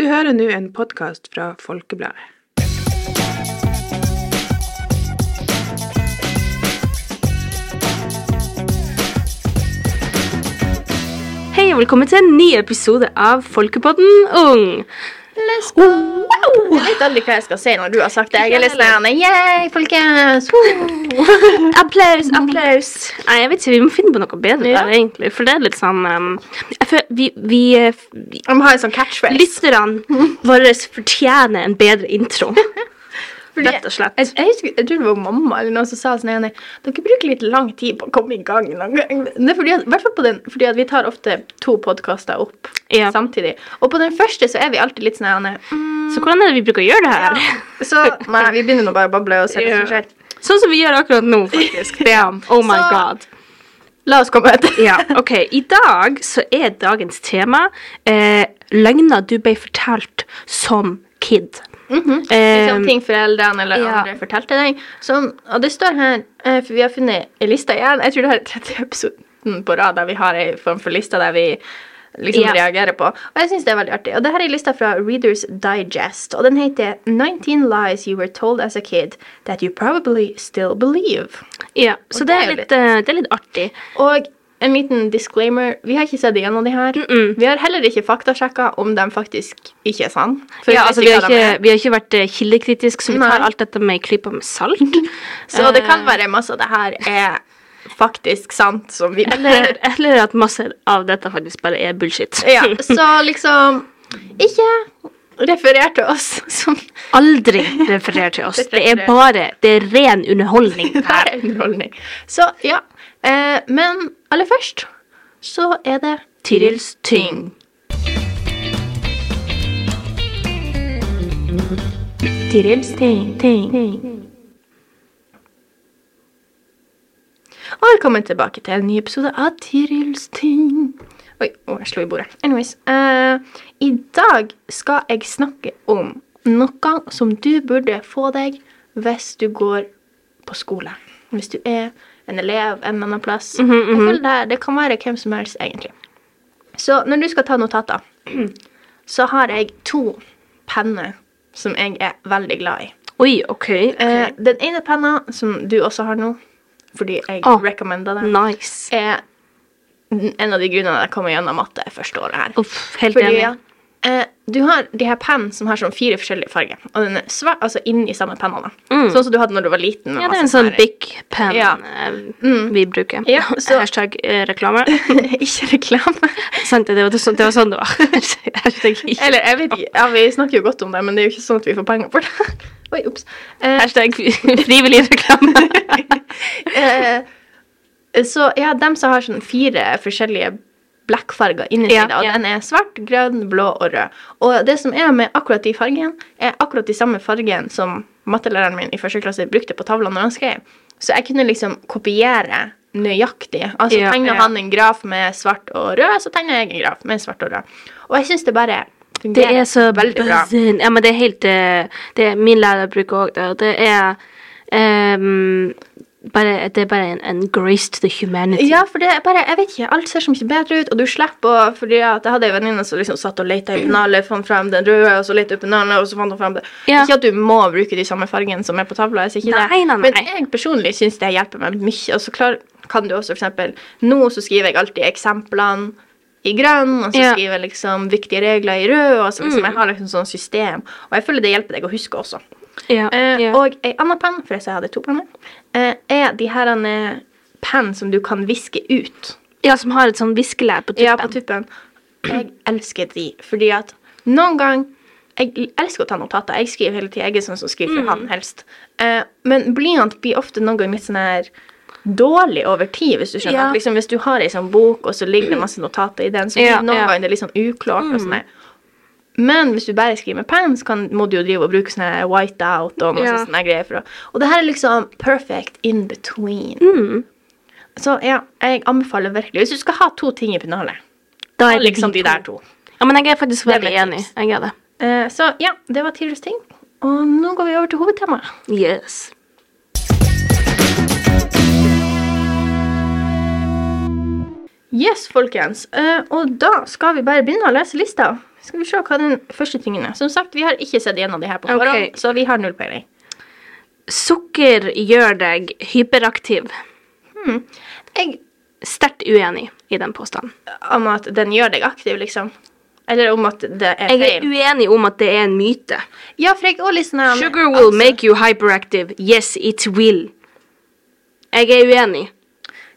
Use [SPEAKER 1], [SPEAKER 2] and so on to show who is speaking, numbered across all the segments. [SPEAKER 1] Du hører nå en podkast fra Folkebladet.
[SPEAKER 2] Hei og velkommen til en ny episode av Folkepodden Ung.
[SPEAKER 3] Let's go! Jeg vet aldri hva jeg skal si når du har sagt det. Jeg er litt sånn Yeah, folkens! Woo!
[SPEAKER 2] Applaus, applaus. Nei, jeg vet ikke, vi må finne på noe bedre
[SPEAKER 3] Ja.
[SPEAKER 2] der, egentlig. For det er litt sånn um, jeg føler, Vi, vi eh, f-
[SPEAKER 3] Jeg må ha en sånn catchphrase.
[SPEAKER 2] lytterne våre fortjener en bedre intro.
[SPEAKER 3] Fordi-
[SPEAKER 2] Rett og slett.
[SPEAKER 3] Jeg, jeg, husker, jeg tror det var mamma eller noen som sa sånn «Jenny, Dere bruker litt lang tid på å komme i gang. noen gang». Det er fordi at, i hvert fall på den, fordi at vi tar ofte to podkaster opp
[SPEAKER 2] Ja.
[SPEAKER 3] samtidig. Og på den første så er vi alltid litt sånn «Jenny, mm,
[SPEAKER 2] Så hvordan er det vi bruker å gjøre det her?
[SPEAKER 3] Så nei, vi begynner nå bare å bable og se hva som
[SPEAKER 2] Ja.
[SPEAKER 3] skjer.
[SPEAKER 2] Sånn som vi gjør akkurat nå, faktisk. Damn. Oh my
[SPEAKER 3] Så-
[SPEAKER 2] god.
[SPEAKER 3] La oss komme etter.
[SPEAKER 2] Ja, ok. I dag så er dagens tema eh, løgner du ble fortalt som kid.
[SPEAKER 3] Liksom
[SPEAKER 2] eh,
[SPEAKER 3] ting foreldrene eller
[SPEAKER 2] ja.
[SPEAKER 3] andre fortalte deg. Som, og det står her, eh, for vi har funnet en liste igjen. Jeg tror det her er 30 episoden på rad der vi har en form for liste der vi liksom
[SPEAKER 2] Ja.
[SPEAKER 3] reagerer på. Og jeg synes det er veldig artig. Og det her er en liste fra Readers Digest, og den heter 19 lies you were told as a kid that you probably still believe.
[SPEAKER 2] ja, så det
[SPEAKER 3] det er
[SPEAKER 2] er,
[SPEAKER 3] jo
[SPEAKER 2] litt, eh, det er litt artig.
[SPEAKER 3] Og en liten disclaimer, vi har ikke sett igjennom de her.
[SPEAKER 2] Mm-mm.
[SPEAKER 3] Vi har heller ikke faktasjekka om de faktisk ikke er sann. For
[SPEAKER 2] Ja,
[SPEAKER 3] vi vet
[SPEAKER 2] altså, vi, har
[SPEAKER 3] hva de er.
[SPEAKER 2] ikke, vi har ikke vært eh, kildekritiske, så vi
[SPEAKER 3] Nei.
[SPEAKER 2] tar alt dette med en klype med salt.
[SPEAKER 3] Så det kan være masse av det her er faktisk sant, som vi
[SPEAKER 2] Eller, eller at masse av dette faktisk bare er bullshit.
[SPEAKER 3] Ja, så liksom Ikke referer til oss som
[SPEAKER 2] Aldri referer til oss. Det er bare det er ren underholdning.
[SPEAKER 3] det er underholdning. Så ja. Eh, men aller først så er det
[SPEAKER 2] Tyrils tyng. Tyrils ting, ting, ting.
[SPEAKER 3] Og velkommen tilbake til en ny episode av Tirils ting. Oi, å, jeg slo i bordet. Anyways. eh, I dag skal jeg snakke om noe som du burde få deg hvis du går på skole. Hvis du er en elev en annen plass.
[SPEAKER 2] Mhm,
[SPEAKER 3] Jeg føler det, her- det kan være hvem som helst, egentlig. Så når du skal ta notater, så har jeg to penner som jeg er veldig glad i.
[SPEAKER 2] Oi, OK.
[SPEAKER 3] Eh, den ene penna, som du også har nå, fordi jeg
[SPEAKER 2] Å.
[SPEAKER 3] oh. recommenda den
[SPEAKER 2] Nice.
[SPEAKER 3] er en av de grunnene jeg kom gjennom matte første året her.
[SPEAKER 2] Uff, helt
[SPEAKER 3] Fordi
[SPEAKER 2] enig.
[SPEAKER 3] eh, du har de her penn som har sånn fire forskjellige farger, og den er svær, altså inni samme penna. da.
[SPEAKER 2] Mm.
[SPEAKER 3] Sånn som du hadde når du var liten. altså, med
[SPEAKER 2] Ja, det er en
[SPEAKER 3] masse
[SPEAKER 2] sånn
[SPEAKER 3] her-
[SPEAKER 2] big pen
[SPEAKER 3] Ja.
[SPEAKER 2] eh, vi bruker.
[SPEAKER 3] Ja, så-
[SPEAKER 2] Hashtag eh, reklame.
[SPEAKER 3] Ikke reklame.
[SPEAKER 2] Sant, det, var- det var sånn- det var sånn det var. Hashtag ikke.
[SPEAKER 3] Eller, jeg vet ikke. Ja, vi snakker jo godt om det, men det er jo ikke sånn at vi får penger for det. Oi, ups. Eh,
[SPEAKER 2] Hashtag frivillig reklame.
[SPEAKER 3] eh, så ja, dem som har sånn fire forskjellige blackfarger inni
[SPEAKER 2] Ja,
[SPEAKER 3] seg, da, og
[SPEAKER 2] ja.
[SPEAKER 3] den er svart, grønn, blå og rød. Og det som er med akkurat de fargene, er akkurat de samme fargene som mattelæreren min i første klasse brukte på tavla når han skrev. Så jeg kunne liksom kopiere nøyaktig. Altså
[SPEAKER 2] Ja,
[SPEAKER 3] tegner
[SPEAKER 2] ja.
[SPEAKER 3] han en graf med svart og rød, så tegner jeg en graf med svart og rød. Og jeg syns det bare
[SPEAKER 2] Det er så
[SPEAKER 3] veldig bra.
[SPEAKER 2] buzzin'. Ja, men det er helt eh, det er, Min lærer bruker òg det, og det er ehm, bare, Det er bare en, en grace to the humanity.
[SPEAKER 3] Ja, for det er bare, jeg vet ikke, alt ser så mye bedre ut, og du slipper å Fordi at jeg hadde en venninne som liksom satt og lette i pennalet, fant frem den røde, og så lette hun pennalet, og så fant hun frem det.
[SPEAKER 2] Ja.
[SPEAKER 3] Ikke at du må bruke de samme fargene som er på tavla, jeg sier ikke
[SPEAKER 2] Nei,
[SPEAKER 3] det.
[SPEAKER 2] nei, nei.
[SPEAKER 3] Men jeg personlig syns det hjelper meg mye, og så klar, kan du også for eksempel Nå så skriver jeg alltid eksemplene i grønn, og så
[SPEAKER 2] Ja. Mm.
[SPEAKER 3] skriver jeg liksom viktige regler i rød, og så liksom jeg har liksom sånn system, og jeg føler det hjelper deg å huske også.
[SPEAKER 2] Ja,
[SPEAKER 3] Eh,
[SPEAKER 2] ja.
[SPEAKER 3] Og ei anna penn, for jeg sa jeg hadde to penner, eh, er de her eh, penn som du kan viske ut.
[SPEAKER 2] ja, som har et sånn viskelær på tuppen.
[SPEAKER 3] Ja, på tuppen. Jeg elsker de, fordi at noen gang Jeg l- elsker å ta notater. Jeg skriver hele tida. Jeg er sånn som skriver
[SPEAKER 2] Mm.
[SPEAKER 3] for han helst. Eh, men blyant blir ofte noen ganger litt sånn her dårlig over tid, hvis du skjønner.
[SPEAKER 2] Ja.
[SPEAKER 3] Liksom, hvis du har ei sånn bok, og så ligger det masse notater i den, så blir
[SPEAKER 2] Ja,
[SPEAKER 3] det noen
[SPEAKER 2] ja. Mm.
[SPEAKER 3] ganger det er litt sånn uklart. og sånn her. Men hvis du bare skriver med penn, så kan, må du jo drive og bruke sånn her whiteout og masse
[SPEAKER 2] Ja.
[SPEAKER 3] sånne her greier. For å, og det her er liksom perfect in between.
[SPEAKER 2] Mm.
[SPEAKER 3] Så ja, jeg anbefaler virkelig Hvis du skal ha to ting i pennalet,
[SPEAKER 2] Da
[SPEAKER 3] ta
[SPEAKER 2] er det
[SPEAKER 3] liksom de der to.
[SPEAKER 2] Ja, men jeg er faktisk
[SPEAKER 3] Det er
[SPEAKER 2] veldig
[SPEAKER 3] mitt
[SPEAKER 2] enig.
[SPEAKER 3] tips.
[SPEAKER 2] Jeg er det.
[SPEAKER 3] Eh, så ja, det var Tirus ting. Og nå går vi over til hovedtemaet.
[SPEAKER 2] Yes.
[SPEAKER 3] Yes, folkens. Eh, og da skal vi bare begynne å lese lista. Skal vi se hva den første tingen er. Som sagt, vi har ikke sett en av de her på forhånd,
[SPEAKER 2] Ok.
[SPEAKER 3] så vi har null peiling.
[SPEAKER 2] Sukker gjør deg hyperaktiv.
[SPEAKER 3] Jeg
[SPEAKER 2] Sterkt uenig i den påstanden.
[SPEAKER 3] Om at den gjør deg aktiv, liksom. Eller om at det er
[SPEAKER 2] Jeg er
[SPEAKER 3] feil.
[SPEAKER 2] uenig om at det er en myte.
[SPEAKER 3] Ja, for jeg er også litt sånn um,
[SPEAKER 2] Sugar will
[SPEAKER 3] altså-
[SPEAKER 2] make you hyperactive. Yes, it will. Jeg er uenig.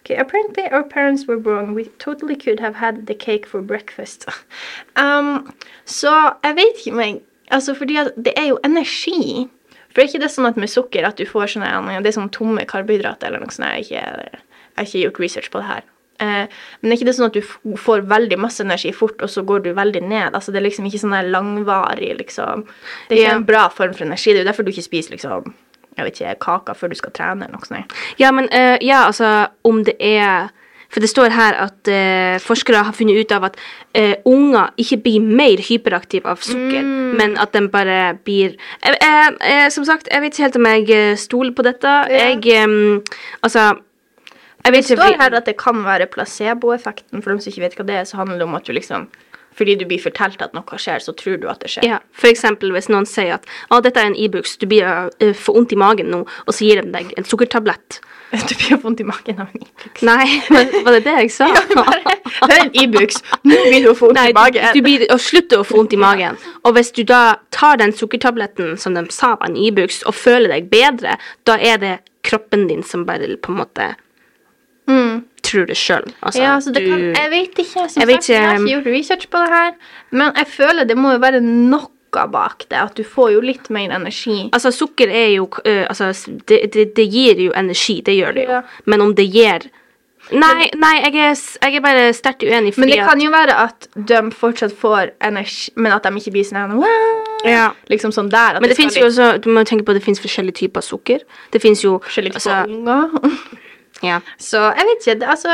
[SPEAKER 3] Okay, apparently our parents were wrong. We totally could have had the cake for breakfast. um, så jeg vet ikke, men altså fordi at det er jo energi. For det er ikke det sånn at med sukker at du får sånne ja, Det er sånn tomme karbohydrater eller noe sånt. Jeg har ikke, jeg har ikke gjort research på det her. Eh, men er ikke det sånn at du f- får veldig masse energi fort, og så går du veldig ned? Altså Det er liksom ikke sånn der langvarig, liksom. Det er ikke
[SPEAKER 2] Ja.
[SPEAKER 3] en bra form for energi. Det er jo derfor du ikke spiser liksom, jeg vet ikke, kaker før du skal trene eller noe sånt.
[SPEAKER 2] Ja, men eh, ja, altså om det er For det står her at eh, forskere har funnet ut av at eh, unger ikke blir mer hyperaktive av sukker,
[SPEAKER 3] Mm.
[SPEAKER 2] men at de bare blir Eh, eh, eh, Som sagt, jeg vet ikke helt om jeg eh, stoler på dette. Jeg em, Altså jeg vet
[SPEAKER 3] Det
[SPEAKER 2] ikke,
[SPEAKER 3] står
[SPEAKER 2] vi-
[SPEAKER 3] her at det kan være placeboeffekten. For dem som ikke vet hva det er, så handler det om at du liksom Fordi du blir fortalt at noe skjer, så tror du at det skjer.
[SPEAKER 2] Ja, for eksempel hvis noen sier at «Å, dette er en Ibux, du blir eh, for vondt i magen nå, og så gir de deg en sukkertablett.
[SPEAKER 3] Du blir vondt i magen av en Ibux.
[SPEAKER 2] Nei, men var det det jeg sa?
[SPEAKER 3] Det er en Ibux. Nå blir du få vondt
[SPEAKER 2] Nei,
[SPEAKER 3] i
[SPEAKER 2] du,
[SPEAKER 3] magen.
[SPEAKER 2] du blir, og slutter å få vondt i magen. Og hvis du da tar den sukkertabletten som de sa var en Ibux, og føler deg bedre, da er det kroppen din som bare på en måte
[SPEAKER 3] Mm.
[SPEAKER 2] tror det sjøl. Altså,
[SPEAKER 3] Ja, så det
[SPEAKER 2] du-
[SPEAKER 3] kan, jeg vet ikke. Som
[SPEAKER 2] Jeg vet
[SPEAKER 3] sagt, jeg har
[SPEAKER 2] ikke,
[SPEAKER 3] ikke um, gjort research på det her. Men jeg føler det må jo være noe bak det. At du får jo litt mer energi.
[SPEAKER 2] Altså, sukker er jo eh, altså, s- det, det, det gir jo energi, det gjør det jo.
[SPEAKER 3] Ja.
[SPEAKER 2] Men om det gir Nei, nei jeg, er, s- jeg er bare sterkt uenig.
[SPEAKER 3] Men
[SPEAKER 2] fordi
[SPEAKER 3] det
[SPEAKER 2] at-
[SPEAKER 3] kan jo være at de fortsatt får energi, men at de ikke blir sånn her, «Wow!»
[SPEAKER 2] Ja.
[SPEAKER 3] Liksom sånn der. At
[SPEAKER 2] Men det,
[SPEAKER 3] skal
[SPEAKER 2] finnes jo også, du må jo tenke på at det finnes forskjellige typer sukker. Det finnes jo
[SPEAKER 3] litt forskjellig på
[SPEAKER 2] altså,
[SPEAKER 3] unger.
[SPEAKER 2] ja.
[SPEAKER 3] Så jeg vet ikke. det- Altså,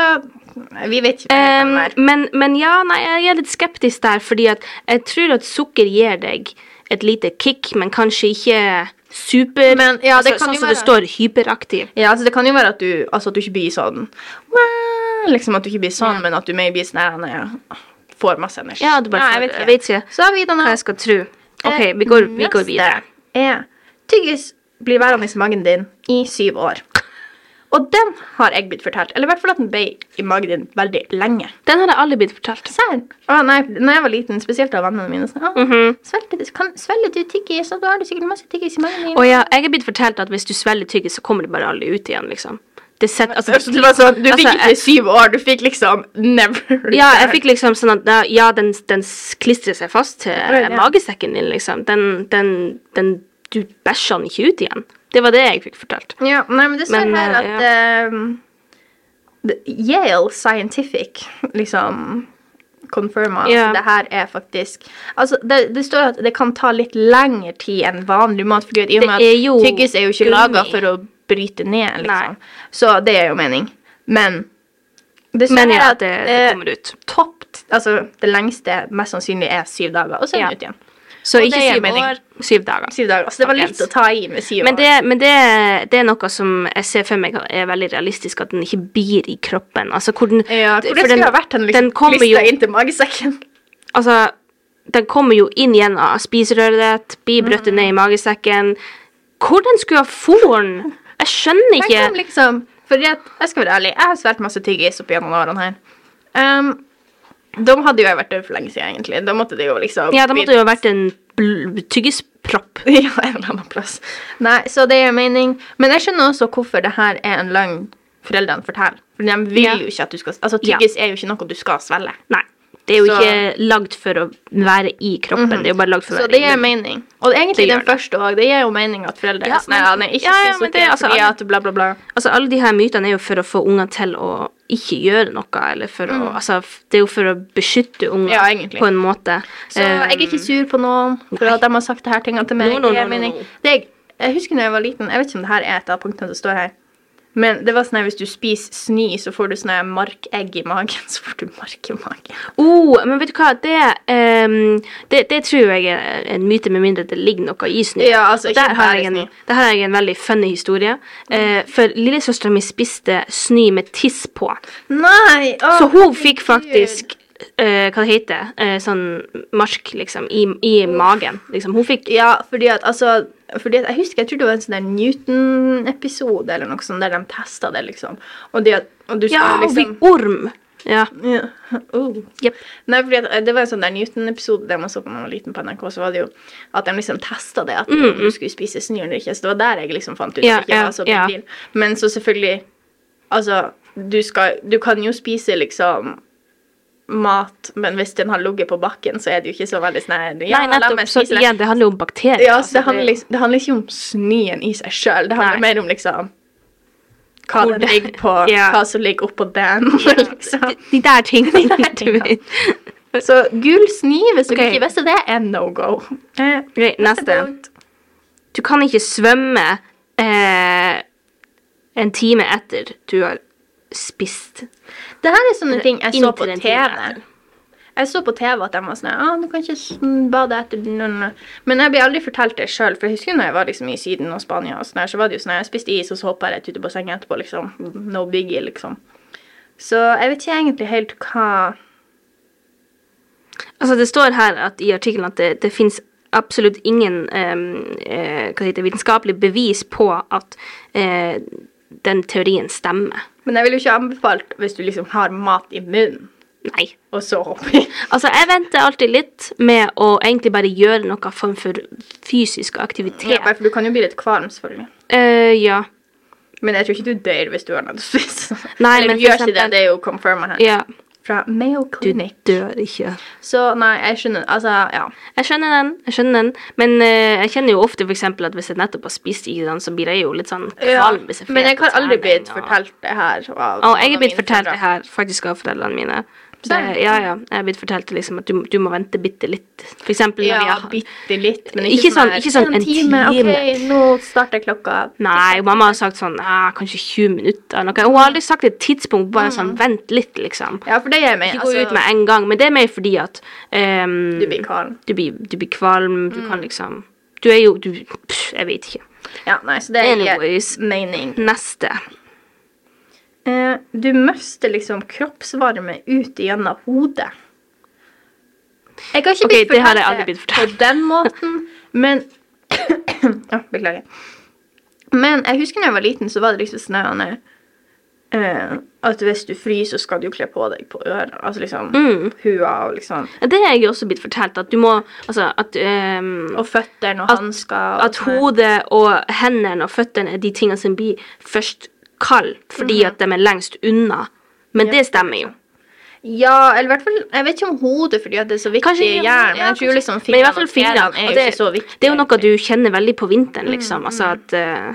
[SPEAKER 3] vi vet ikke. hva
[SPEAKER 2] Em,
[SPEAKER 3] det er.
[SPEAKER 2] Ehm, men, men ja, nei, jeg er litt skeptisk der, fordi at jeg tror at sukker gir deg et lite kick, men kanskje ikke super
[SPEAKER 3] Men, ja, det kan
[SPEAKER 2] Sånn
[SPEAKER 3] jo
[SPEAKER 2] som det
[SPEAKER 3] være.
[SPEAKER 2] står, hyperaktiv.
[SPEAKER 3] ja, altså, det kan jo være at du, altså, at du ikke blir sånn «Wow!» Liksom at du ikke blir sånn, men at du mer blir sånn her, nei, ja, får masse energi.
[SPEAKER 2] Ja, du bare
[SPEAKER 3] Nei,
[SPEAKER 2] får-
[SPEAKER 3] jeg, vet Eh,
[SPEAKER 2] jeg vet ikke.
[SPEAKER 3] Så har vi denne.
[SPEAKER 2] Hva jeg skal tro. OK, vi går, vi går videre.
[SPEAKER 3] Er tyggis blir værende i magen din i syv år. Og den har jeg blitt fortalt. Eller i hvert fall at den ble i magen din veldig lenge.
[SPEAKER 2] Den hadde alle blitt fortalt.
[SPEAKER 3] Sær. Å, nei, når jeg var liten, spesielt av vennene mine, sånn, «Å, svelger du- kan- svelger du tyggis, så da har du sikkert masse tyggis i magen din.
[SPEAKER 2] Og ja, jeg er blitt fortalt at hvis du svelger tyggis, så kommer det bare aldri ut igjen, liksom. Det setter, altså,
[SPEAKER 3] Altså, det var sånn, du fikk
[SPEAKER 2] Altså,
[SPEAKER 3] ikke syv år, du fikk liksom never.
[SPEAKER 2] Ja, jeg fikk liksom sånn at ja, ja, den, den s- klistrer seg fast til
[SPEAKER 3] Ja, ja.
[SPEAKER 2] magesekken din, liksom. Den, den, den Du bæsjer den ikke ut igjen. Det var det jeg fikk fortalt.
[SPEAKER 3] Ja, nei, men det står
[SPEAKER 2] Men,
[SPEAKER 3] her
[SPEAKER 2] eh,
[SPEAKER 3] at ehm, the- Yale Scientific liksom confirma at
[SPEAKER 2] Ja.
[SPEAKER 3] det her er faktisk Altså, det, det står at det kan ta litt lengre tid enn vanlig mat, fordi at i og
[SPEAKER 2] Det
[SPEAKER 3] med
[SPEAKER 2] er jo
[SPEAKER 3] at tyggis er jo ikke laga
[SPEAKER 2] gummi.
[SPEAKER 3] for å bryte ned,
[SPEAKER 2] Nei.
[SPEAKER 3] liksom. Så det er jo mening. Men det står
[SPEAKER 2] Men
[SPEAKER 3] her
[SPEAKER 2] ja,
[SPEAKER 3] at
[SPEAKER 2] det, det
[SPEAKER 3] eh,
[SPEAKER 2] kommer ut.
[SPEAKER 3] topp Altså, det lengste mest sannsynlig er syv dager, og så er
[SPEAKER 2] Ja.
[SPEAKER 3] den ute igjen.
[SPEAKER 2] Så
[SPEAKER 3] og
[SPEAKER 2] ikke
[SPEAKER 3] det gir
[SPEAKER 2] syv
[SPEAKER 3] mening.
[SPEAKER 2] år, syv dager.
[SPEAKER 3] Syv dager. Så Altså, det var
[SPEAKER 2] Folkens.
[SPEAKER 3] litt å ta i med syv
[SPEAKER 2] Men, det,
[SPEAKER 3] år.
[SPEAKER 2] men det, det er noe som jeg ser for meg er veldig realistisk, at den ikke blir i kroppen. Altså, hvor den,
[SPEAKER 3] Ja,
[SPEAKER 2] for
[SPEAKER 3] hvor det skulle ha vært den liksom
[SPEAKER 2] den kommer jo
[SPEAKER 3] klistra inn til magesekken.
[SPEAKER 2] Altså, den kommer jo inn gjennom spiserøret ditt, blir brøttet ned i magesekken. Hvordan skulle jeg få den? Jeg skjønner
[SPEAKER 3] Tenk
[SPEAKER 2] ikke.
[SPEAKER 3] om liksom Fordi at, jeg skal være ærlig, jeg har svelget masse tyggis opp gjennom årene her. Ehm, de hadde jo jeg vært død for lenge siden, egentlig. Da måtte det jo liksom
[SPEAKER 2] Ja, det måtte jo ha vært en bl- tyggispropp.
[SPEAKER 3] Ja, en eller annen plass. Nei, så det gir mening. Men jeg skjønner også hvorfor det her er en løgn foreldrene forteller. For de vil
[SPEAKER 2] Ja.
[SPEAKER 3] jo ikke at du skal Altså,
[SPEAKER 2] Ja.
[SPEAKER 3] tyggis er jo ikke noe du skal svelge.
[SPEAKER 2] Nei. Det er jo
[SPEAKER 3] Så- Mhm.
[SPEAKER 2] ikke lagd for å være i kroppen. Det er jo bare lagd for å
[SPEAKER 3] Så
[SPEAKER 2] være
[SPEAKER 3] det
[SPEAKER 2] i
[SPEAKER 3] gir
[SPEAKER 2] munnen.
[SPEAKER 3] mening. Og egentlig
[SPEAKER 2] Det gjør
[SPEAKER 3] den første òg. Det gir jo mening at foreldre
[SPEAKER 2] Ja,
[SPEAKER 3] er sånn,
[SPEAKER 2] men-
[SPEAKER 3] ja, nei, ikke
[SPEAKER 2] ja, ja,
[SPEAKER 3] spis
[SPEAKER 2] men
[SPEAKER 3] sukker
[SPEAKER 2] det er altså
[SPEAKER 3] fordi
[SPEAKER 2] alle-
[SPEAKER 3] at bla, bla, bla.
[SPEAKER 2] Altså, alle de her mytene er jo for å få unger til å ikke gjøre noe, eller for å Altså, f- det er jo for å beskytte unger
[SPEAKER 3] Mhm. Ja, egentlig.
[SPEAKER 2] på en måte.
[SPEAKER 3] Så jeg er ikke sur på noen for at de har sagt det her tingene til meg.
[SPEAKER 2] No, no,
[SPEAKER 3] Det gir
[SPEAKER 2] no, no,
[SPEAKER 3] mening.
[SPEAKER 2] no.
[SPEAKER 3] Det jeg, jeg husker når jeg var liten, jeg vet ikke om det her er et av punktene som står her, men det var sånn her hvis du spiser snø, så får du sånne markegg i magen. Så får du mark i magen.
[SPEAKER 2] Oh, men vet du hva, det, ehm, det, det tror jeg er en myte, med mindre det ligger noe i snø.
[SPEAKER 3] Ja, altså, ikke
[SPEAKER 2] der, har
[SPEAKER 3] bare
[SPEAKER 2] jeg en,
[SPEAKER 3] snø. Mm.
[SPEAKER 2] der har jeg en veldig funny historie. Eh, for lillesøstera mi spiste snø med tiss på.
[SPEAKER 3] Nei!
[SPEAKER 2] Så hun fikk faktisk eh, hva det heter, eh, sånn mark, liksom, i, i magen. Liksom, hun fikk
[SPEAKER 3] Ja, fordi at altså fordi at Jeg husker, jeg tror det var en sånn der Newton-episode eller noe sånt, der de testa det, liksom. Og det at og du
[SPEAKER 2] Ja,
[SPEAKER 3] skal
[SPEAKER 2] hun
[SPEAKER 3] liksom
[SPEAKER 2] fikk orm! Ja.
[SPEAKER 3] Ja. Oh.
[SPEAKER 2] Jep.
[SPEAKER 3] Nei, fordi at eh, Det var en sånn der Newton-episode der man så på når man var liten på NRK, så var det jo at de liksom testa det, at om du skulle spise snø eller ikke. Så det var der jeg liksom fant ut.
[SPEAKER 2] Mm. Ja,
[SPEAKER 3] at jeg
[SPEAKER 2] ja,
[SPEAKER 3] var så
[SPEAKER 2] ja.
[SPEAKER 3] debil. Men så selvfølgelig Altså, du, skal, du kan jo spise liksom mat, men hvis den har ligget på bakken, så er det jo ikke så veldig sånn her, ja,
[SPEAKER 2] Nei,
[SPEAKER 3] la meg
[SPEAKER 2] nettopp. Så
[SPEAKER 3] spise det.
[SPEAKER 2] igjen, det handler jo om bakterier.
[SPEAKER 3] Ja, så
[SPEAKER 2] altså,
[SPEAKER 3] det handler, liksom, det handler ikke om snøen i seg sjøl. Det handler
[SPEAKER 2] Nei.
[SPEAKER 3] mer om liksom hva,
[SPEAKER 2] Hvor
[SPEAKER 3] den
[SPEAKER 2] det-
[SPEAKER 3] ligger på,
[SPEAKER 2] Ja.
[SPEAKER 3] hva som ligger oppå den. liksom.
[SPEAKER 2] De der tingene.
[SPEAKER 3] De der tingene. Så gul sni, hvis du
[SPEAKER 2] Ok.
[SPEAKER 3] ikke visste det, er no go. Eh,
[SPEAKER 2] Ok, neste. Du kan ikke svømme eh, en time etter du har spist.
[SPEAKER 3] Det her er sånne ting jeg så
[SPEAKER 2] Inntil
[SPEAKER 3] på
[SPEAKER 2] en time
[SPEAKER 3] TV.
[SPEAKER 2] etter.
[SPEAKER 3] Jeg så på TV at de var sånn ah, du kan ikke sn- bade etter den, den, den». Men jeg ble aldri fortalt det sjøl, for jeg husker når jeg var liksom i Syden og Spania, og sånn her, så var det jo sånn her, jeg spiste is, og så hoppa jeg rett ut i bassenget etterpå, liksom. No biggie, liksom. Så jeg vet ikke egentlig helt hva
[SPEAKER 2] Altså, det står her at, i artikkelen at det, det fins absolutt ingen em, eh, hva heter, det, vitenskapelig bevis på at eh, den teorien stemmer.
[SPEAKER 3] Men jeg ville jo ikke anbefalt hvis du liksom har mat i munnen,
[SPEAKER 2] Nei.
[SPEAKER 3] og så hopper i.
[SPEAKER 2] Altså, jeg venter alltid litt med å egentlig bare gjøre noe form for fysisk aktivitet.
[SPEAKER 3] Ja, for du kan jo bli litt kvalm, selvfølgelig.
[SPEAKER 2] Eh, ja.
[SPEAKER 3] Men jeg tror ikke du dør hvis du har noe å spise.
[SPEAKER 2] Nei,
[SPEAKER 3] Eller
[SPEAKER 2] men
[SPEAKER 3] du
[SPEAKER 2] for
[SPEAKER 3] gjør ikke det,
[SPEAKER 2] eksempel-
[SPEAKER 3] det er jo confirma her.
[SPEAKER 2] ja.
[SPEAKER 3] Fra Mayo
[SPEAKER 2] Du
[SPEAKER 3] Clinic.
[SPEAKER 2] dør ikke.
[SPEAKER 3] Så nei, jeg skjønner. Altså, ja.
[SPEAKER 2] Jeg skjønner den, jeg skjønner den. Men eh, jeg kjenner jo ofte for eksempel at hvis jeg nettopp har spist ikke sant, så blir jeg jo litt sånn kvalm. hvis
[SPEAKER 3] Men jeg
[SPEAKER 2] får
[SPEAKER 3] har aldri
[SPEAKER 2] trening,
[SPEAKER 3] blitt
[SPEAKER 2] og-
[SPEAKER 3] fortalt det her. Av
[SPEAKER 2] Og jeg er
[SPEAKER 3] noen
[SPEAKER 2] blitt
[SPEAKER 3] av mine
[SPEAKER 2] fortalt det
[SPEAKER 3] foreldre.
[SPEAKER 2] her faktisk av foreldrene mine. Så,
[SPEAKER 3] Der.
[SPEAKER 2] ja, ja, jeg er blitt fortalt liksom at du, du må vente bitte litt. For eksempel når
[SPEAKER 3] Ja,
[SPEAKER 2] jeg har
[SPEAKER 3] bitte litt. Men
[SPEAKER 2] Ikke sånn-
[SPEAKER 3] her,
[SPEAKER 2] ikke sånn en time.
[SPEAKER 3] OK, nå starter klokka.
[SPEAKER 2] Nei, mamma har sagt sånn ah, kanskje 20 minutter. eller noe. Hun har aldri sagt et tidspunkt, bare
[SPEAKER 3] Mm.
[SPEAKER 2] sånn vent litt, liksom.
[SPEAKER 3] Ja, for det gjør meg.
[SPEAKER 2] Ikke gå ut med en gang, men det er mer fordi at ehm,
[SPEAKER 3] Altså Du blir Mm. kvalm.
[SPEAKER 2] du, blir, du blir kvalm, du kan liksom Du er jo du, pff, Jeg vet ikke.
[SPEAKER 3] Ja, nei, så det
[SPEAKER 2] Anyways.
[SPEAKER 3] gir mening.
[SPEAKER 2] Neste.
[SPEAKER 3] Eh, du mister liksom kroppsvarme ut gjennom hodet. Jeg har ikke
[SPEAKER 2] Ok,
[SPEAKER 3] blitt
[SPEAKER 2] det har jeg
[SPEAKER 3] fortalt
[SPEAKER 2] aldri blitt
[SPEAKER 3] på
[SPEAKER 2] fortalt.
[SPEAKER 3] den måten, men ja, Beklager. Men jeg husker da jeg var liten, så var det liksom sånn eh, at hvis du fryser, så skal du jo kle på deg på ørene. Altså liksom hua og liksom
[SPEAKER 2] Ja, Det er jeg også blitt fortalt, at du må Altså at ehm,
[SPEAKER 3] Og føttene og
[SPEAKER 2] At-
[SPEAKER 3] hansker. og
[SPEAKER 2] at
[SPEAKER 3] sånn her.
[SPEAKER 2] hodet og hendene og føttene er de tingene som blir først kald fordi
[SPEAKER 3] Mhm.
[SPEAKER 2] at de er lengst unna. Men det stemmer jo.
[SPEAKER 3] Ja, eller i hvert fall Jeg vet ikke om hodet, fordi at det er så viktig
[SPEAKER 2] Kanskje
[SPEAKER 3] i
[SPEAKER 2] ikke- ja,
[SPEAKER 3] hjernen. jeg tror
[SPEAKER 2] kanskje-
[SPEAKER 3] liksom
[SPEAKER 2] men i hvert fall
[SPEAKER 3] fingrene
[SPEAKER 2] fingrene.
[SPEAKER 3] og tærne er
[SPEAKER 2] og
[SPEAKER 3] jo ikke så Mm, viktig.
[SPEAKER 2] det er jo noe du kjenner veldig på vinteren, liksom. Altså at, eh,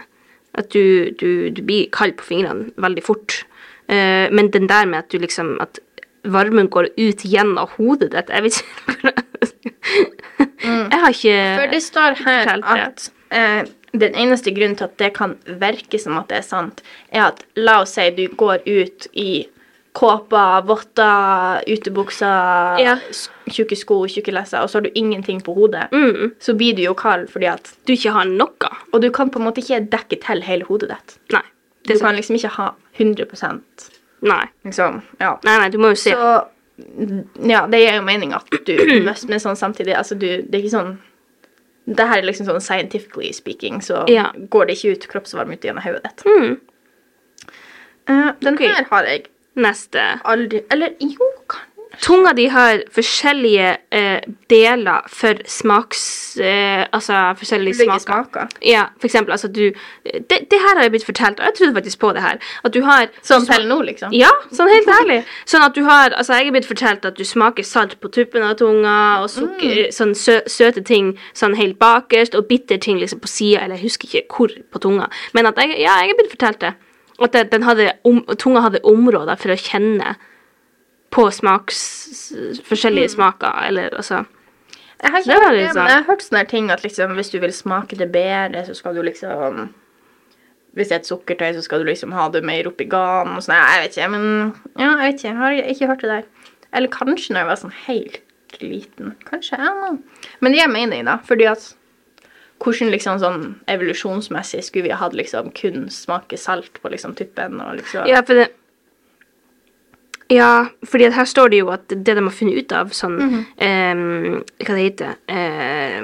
[SPEAKER 2] at du, du, du blir kald på fingrene veldig fort. Eh, men den der med at du liksom At varmen går ut gjennom hodet ditt Jeg vet ikke hvordan Jeg har ikke
[SPEAKER 3] Mm. For det står her
[SPEAKER 2] Fortell det.
[SPEAKER 3] at eh, den eneste grunnen til at det kan virke som at det er sant, er at la oss si du går ut i kåpa, votter, utebukser,
[SPEAKER 2] Ja.
[SPEAKER 3] s- tjukke sko, tjukke lesser, og så har du ingenting på hodet,
[SPEAKER 2] Mm.
[SPEAKER 3] så blir du jo kald fordi at
[SPEAKER 2] Du ikke har noe.
[SPEAKER 3] Og du kan på en måte ikke dekke til hele hodet ditt.
[SPEAKER 2] Nei.
[SPEAKER 3] Du
[SPEAKER 2] Det er sant.
[SPEAKER 3] kan liksom ikke ha 100
[SPEAKER 2] Nei.
[SPEAKER 3] liksom. Ja.
[SPEAKER 2] nei. Nei, du må jo se.
[SPEAKER 3] Så mm, Ja, det gir jo mening at du must, men sånn samtidig altså du, Det er ikke sånn det her er liksom sånn scientifically speaking, så
[SPEAKER 2] Ja.
[SPEAKER 3] går det ikke ut kroppsvarme ut gjennom hodet ditt.
[SPEAKER 2] Mm.
[SPEAKER 3] Eh, den
[SPEAKER 2] Ok.
[SPEAKER 3] her har jeg
[SPEAKER 2] Neste.
[SPEAKER 3] aldri Eller jo, kan
[SPEAKER 2] Tunga di har forskjellige eh, deler for smaks... Eh, altså forskjellige
[SPEAKER 3] Ulike
[SPEAKER 2] smaker.
[SPEAKER 3] smaker.
[SPEAKER 2] Ja, for eksempel, altså du det, det her har jeg blitt fortalt, og jeg trodde faktisk på det her. At du har
[SPEAKER 3] Sånn til nå, liksom.
[SPEAKER 2] Ja, sånn helt ærlig. Sånn at du har Altså, jeg er blitt fortalt at du smaker salt på tuppen av tunga, og sukker, sånn sø, søte ting sånn helt bakerst, og bitter ting liksom på sida, eller jeg husker ikke hvor på tunga. Men at jeg Ja, jeg er blitt fortalt det. At det, den hadde, om, tunga hadde områder for å kjenne på smaks forskjellige smaker, eller altså
[SPEAKER 3] Jeg har ikke
[SPEAKER 2] Det var
[SPEAKER 3] hørt det,
[SPEAKER 2] litt
[SPEAKER 3] men
[SPEAKER 2] sånn.
[SPEAKER 3] jeg har hørt sånne her ting at liksom, hvis du vil smake det bedre, så skal du liksom Hvis det er et sukkertøy, så skal du liksom ha det mer oppi garn og sånn. Nei, Jeg vet ikke, men Ja, jeg vet ikke. Jeg har ikke hørt det der. Eller kanskje når jeg var sånn helt liten. Kanskje. Jeg vet ikke. Men det gir mening, da. Fordi at hvordan liksom sånn evolusjonsmessig skulle vi hatt liksom kun smake salt på liksom tuppen og liksom
[SPEAKER 2] Ja, for det Ja, fordi at her står det jo at det de har funnet ut av sånn
[SPEAKER 3] Mhm.
[SPEAKER 2] ehm, Hva det heter eh,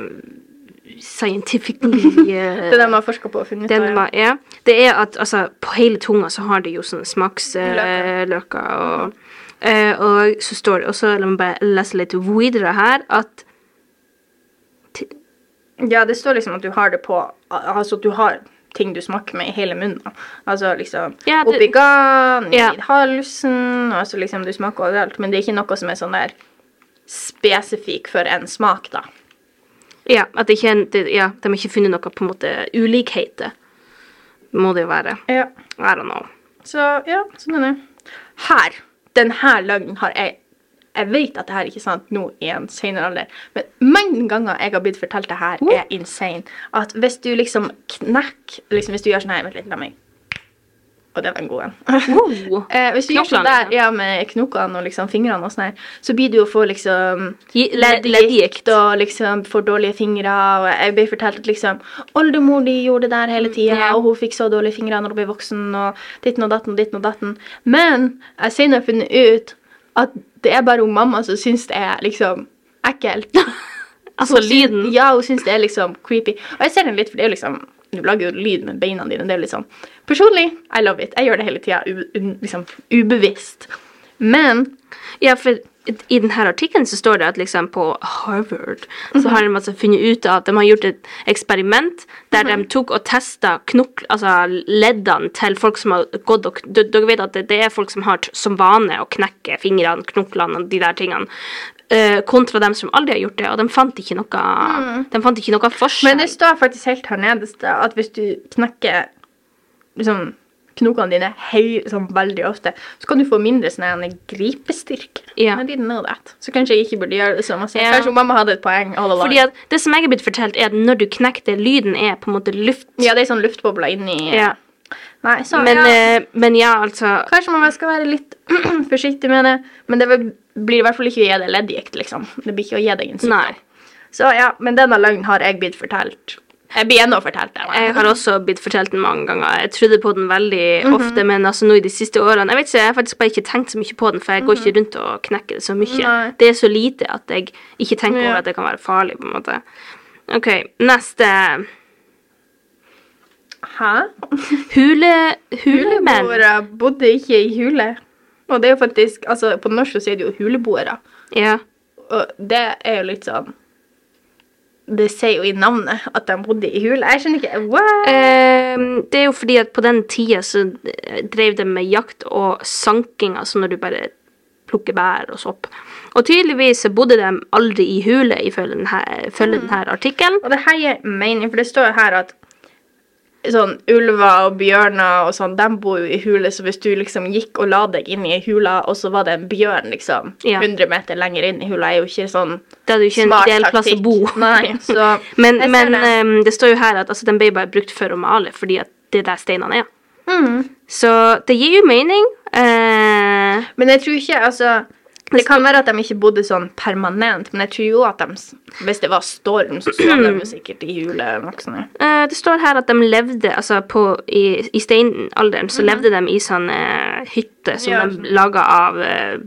[SPEAKER 2] Scientifically eh,
[SPEAKER 3] Det de har forska på og funnet
[SPEAKER 2] det
[SPEAKER 3] ut av,
[SPEAKER 2] de
[SPEAKER 3] ja.
[SPEAKER 2] har- ja. Det er at altså, på hele tunga så har de jo sånne smaksløker. Eh,
[SPEAKER 3] Løker.
[SPEAKER 2] løker og, eh, og så står det også, la meg bare lese litt videre her, at
[SPEAKER 3] Ja, det står liksom at du har det på al- Altså at du har ting du smaker med i hele munnen. da. Altså liksom
[SPEAKER 2] Ja, det-
[SPEAKER 3] oppi ganen,
[SPEAKER 2] Ja.
[SPEAKER 3] i halsen Altså liksom du smaker overalt. Men det er ikke noe som er sånn der spesifikk for en smak, da.
[SPEAKER 2] ja, at det ikke, er en- det, ja, de har ikke funnet noe på en måte ulikhet. det. Må det jo være.
[SPEAKER 3] Ja.
[SPEAKER 2] I don't know.
[SPEAKER 3] Så ja, sånn er det. Her. Denne løgnen har jeg Jeg vet at det her ikke er sant nå i en senere alder, men mange ganger jeg har blitt fortalt det her, er insane. At hvis du liksom knekker liksom Hvis du gjør sånn her Vent litt, la meg Og det var en god en.
[SPEAKER 2] Wow.
[SPEAKER 3] Eh, hvis du gjør sånn
[SPEAKER 2] Knoklene, liksom.
[SPEAKER 3] der, ja, med knokene og liksom fingrene og sånn her, så blir du å få liksom
[SPEAKER 2] Gi- ledd-
[SPEAKER 3] leddgikt og liksom får dårlige fingre. Og jeg ble fortalt at liksom oldemor di gjorde det der hele tida,
[SPEAKER 2] Mm, Ja.
[SPEAKER 3] og hun fikk så dårlige fingre når hun ble voksen, og ditten og datten og ditten og datten. Men jeg har senere funnet ut at det er bare hun mamma som syns det er liksom ekkelt.
[SPEAKER 2] Altså
[SPEAKER 3] Hun syns-
[SPEAKER 2] lyden.
[SPEAKER 3] Ja, hun syns det er liksom creepy. Og jeg ser den litt, for det er jo liksom Du lager jo lyd med beina dine. Det er jo litt sånn Personlig, I love it. Jeg gjør det hele tida, liksom ubevisst. Men
[SPEAKER 2] Ja, for i denne artikkelen så står det at liksom på Harvard
[SPEAKER 3] Mhm.
[SPEAKER 2] så har de altså funnet ut at de har gjort et eksperiment der
[SPEAKER 3] Mhm.
[SPEAKER 2] de tok og testa knokl... Altså leddene til folk som har gått og d- Dere vet at det, det er folk som har t som vane å knekke fingrene, knoklene og de der tingene. eh, kontra dem som aldri har gjort det, og de fant ikke noe De fant ikke noe forskjell.
[SPEAKER 3] Mhm. Men det står faktisk helt her nederst at hvis du knekker liksom, knokene dine høy, sånn, veldig ofte, så kan du få mindre sånn her gripestyrke.
[SPEAKER 2] Ja.
[SPEAKER 3] I didn't know that. Så kanskje jeg ikke burde gjøre det så masse.
[SPEAKER 2] Ja.
[SPEAKER 3] Kanskje mamma hadde et poeng. All along.
[SPEAKER 2] Fordi at det som jeg er blitt fortalt, er at når du knekker det, lyden er på en måte luft.
[SPEAKER 3] ja, det er sånn luftbobler inni
[SPEAKER 2] Ja.
[SPEAKER 3] Nei, så,
[SPEAKER 2] Men,
[SPEAKER 3] ja.
[SPEAKER 2] eh, men ja, altså
[SPEAKER 3] Kanskje man skal være litt forsiktig med det, men det vil- blir i hvert fall ikke å gi deg leddgikt, liksom. Det blir ikke å gi deg en sykdom.
[SPEAKER 2] Nei.
[SPEAKER 3] Så ja, men denne løgnen har jeg blitt fortalt. Jeg blir ennå fortalt det.
[SPEAKER 2] Jeg har også blitt fortalt den mange ganger. Jeg trodde på den veldig
[SPEAKER 3] Mhm.
[SPEAKER 2] ofte, men altså nå i de siste årene Jeg vet ikke, jeg har faktisk bare ikke tenkt så mye på den, for jeg går ikke rundt og knekker det så mye.
[SPEAKER 3] Mhm. Nei.
[SPEAKER 2] Det er så lite at jeg ikke tenker
[SPEAKER 3] Ja.
[SPEAKER 2] over at det kan være farlig, på en måte. OK, neste.
[SPEAKER 3] Hæ?
[SPEAKER 2] Hule... Hulemenn.
[SPEAKER 3] Huleboere bodde ikke i hule. Og det er jo faktisk, altså på norsk så er det jo huleboere.
[SPEAKER 2] Ja.
[SPEAKER 3] Og det er jo litt sånn, det sier jo i navnet at de bodde i hule. Jeg skjønner ikke, what?
[SPEAKER 2] Ehm, det er jo fordi at på den tida så eh, drev de med jakt og sanking, altså når du bare plukker bær og sopp. Og tydeligvis så bodde de aldri i hule, ifølge denne, følge
[SPEAKER 3] Mhm.
[SPEAKER 2] denne artikkelen.
[SPEAKER 3] Og det her gir mening, for det står jo her at sånn ulver og bjørner og sånn, de bor jo i hule, så hvis du liksom gikk og la deg inn i hula, og så var det en bjørn liksom
[SPEAKER 2] Ja.
[SPEAKER 3] 100 meter lenger inn i hula, er jo ikke sånn
[SPEAKER 2] Det hadde jo ikke en
[SPEAKER 3] smart
[SPEAKER 2] ideell plass å
[SPEAKER 3] taktikk.
[SPEAKER 2] bo.
[SPEAKER 3] Nei, så
[SPEAKER 2] Men,
[SPEAKER 3] jeg ser
[SPEAKER 2] men
[SPEAKER 3] det.
[SPEAKER 2] ehm, det står jo her at altså, den ble bare brukt for å male, fordi at det er der steinene er.
[SPEAKER 3] Mm.
[SPEAKER 2] Så det gir jo mening. Eh,
[SPEAKER 3] Men jeg tror ikke, altså Det kan være at de ikke bodde sånn permanent, men jeg tror jo at de s- Hvis det var storm, så så de jo sikkert i julemaksene.
[SPEAKER 2] eh, det står her at de levde altså på, i, i steinalderen så levde de i sånne hytter som
[SPEAKER 3] Mhm. Ja,
[SPEAKER 2] de laga av eh,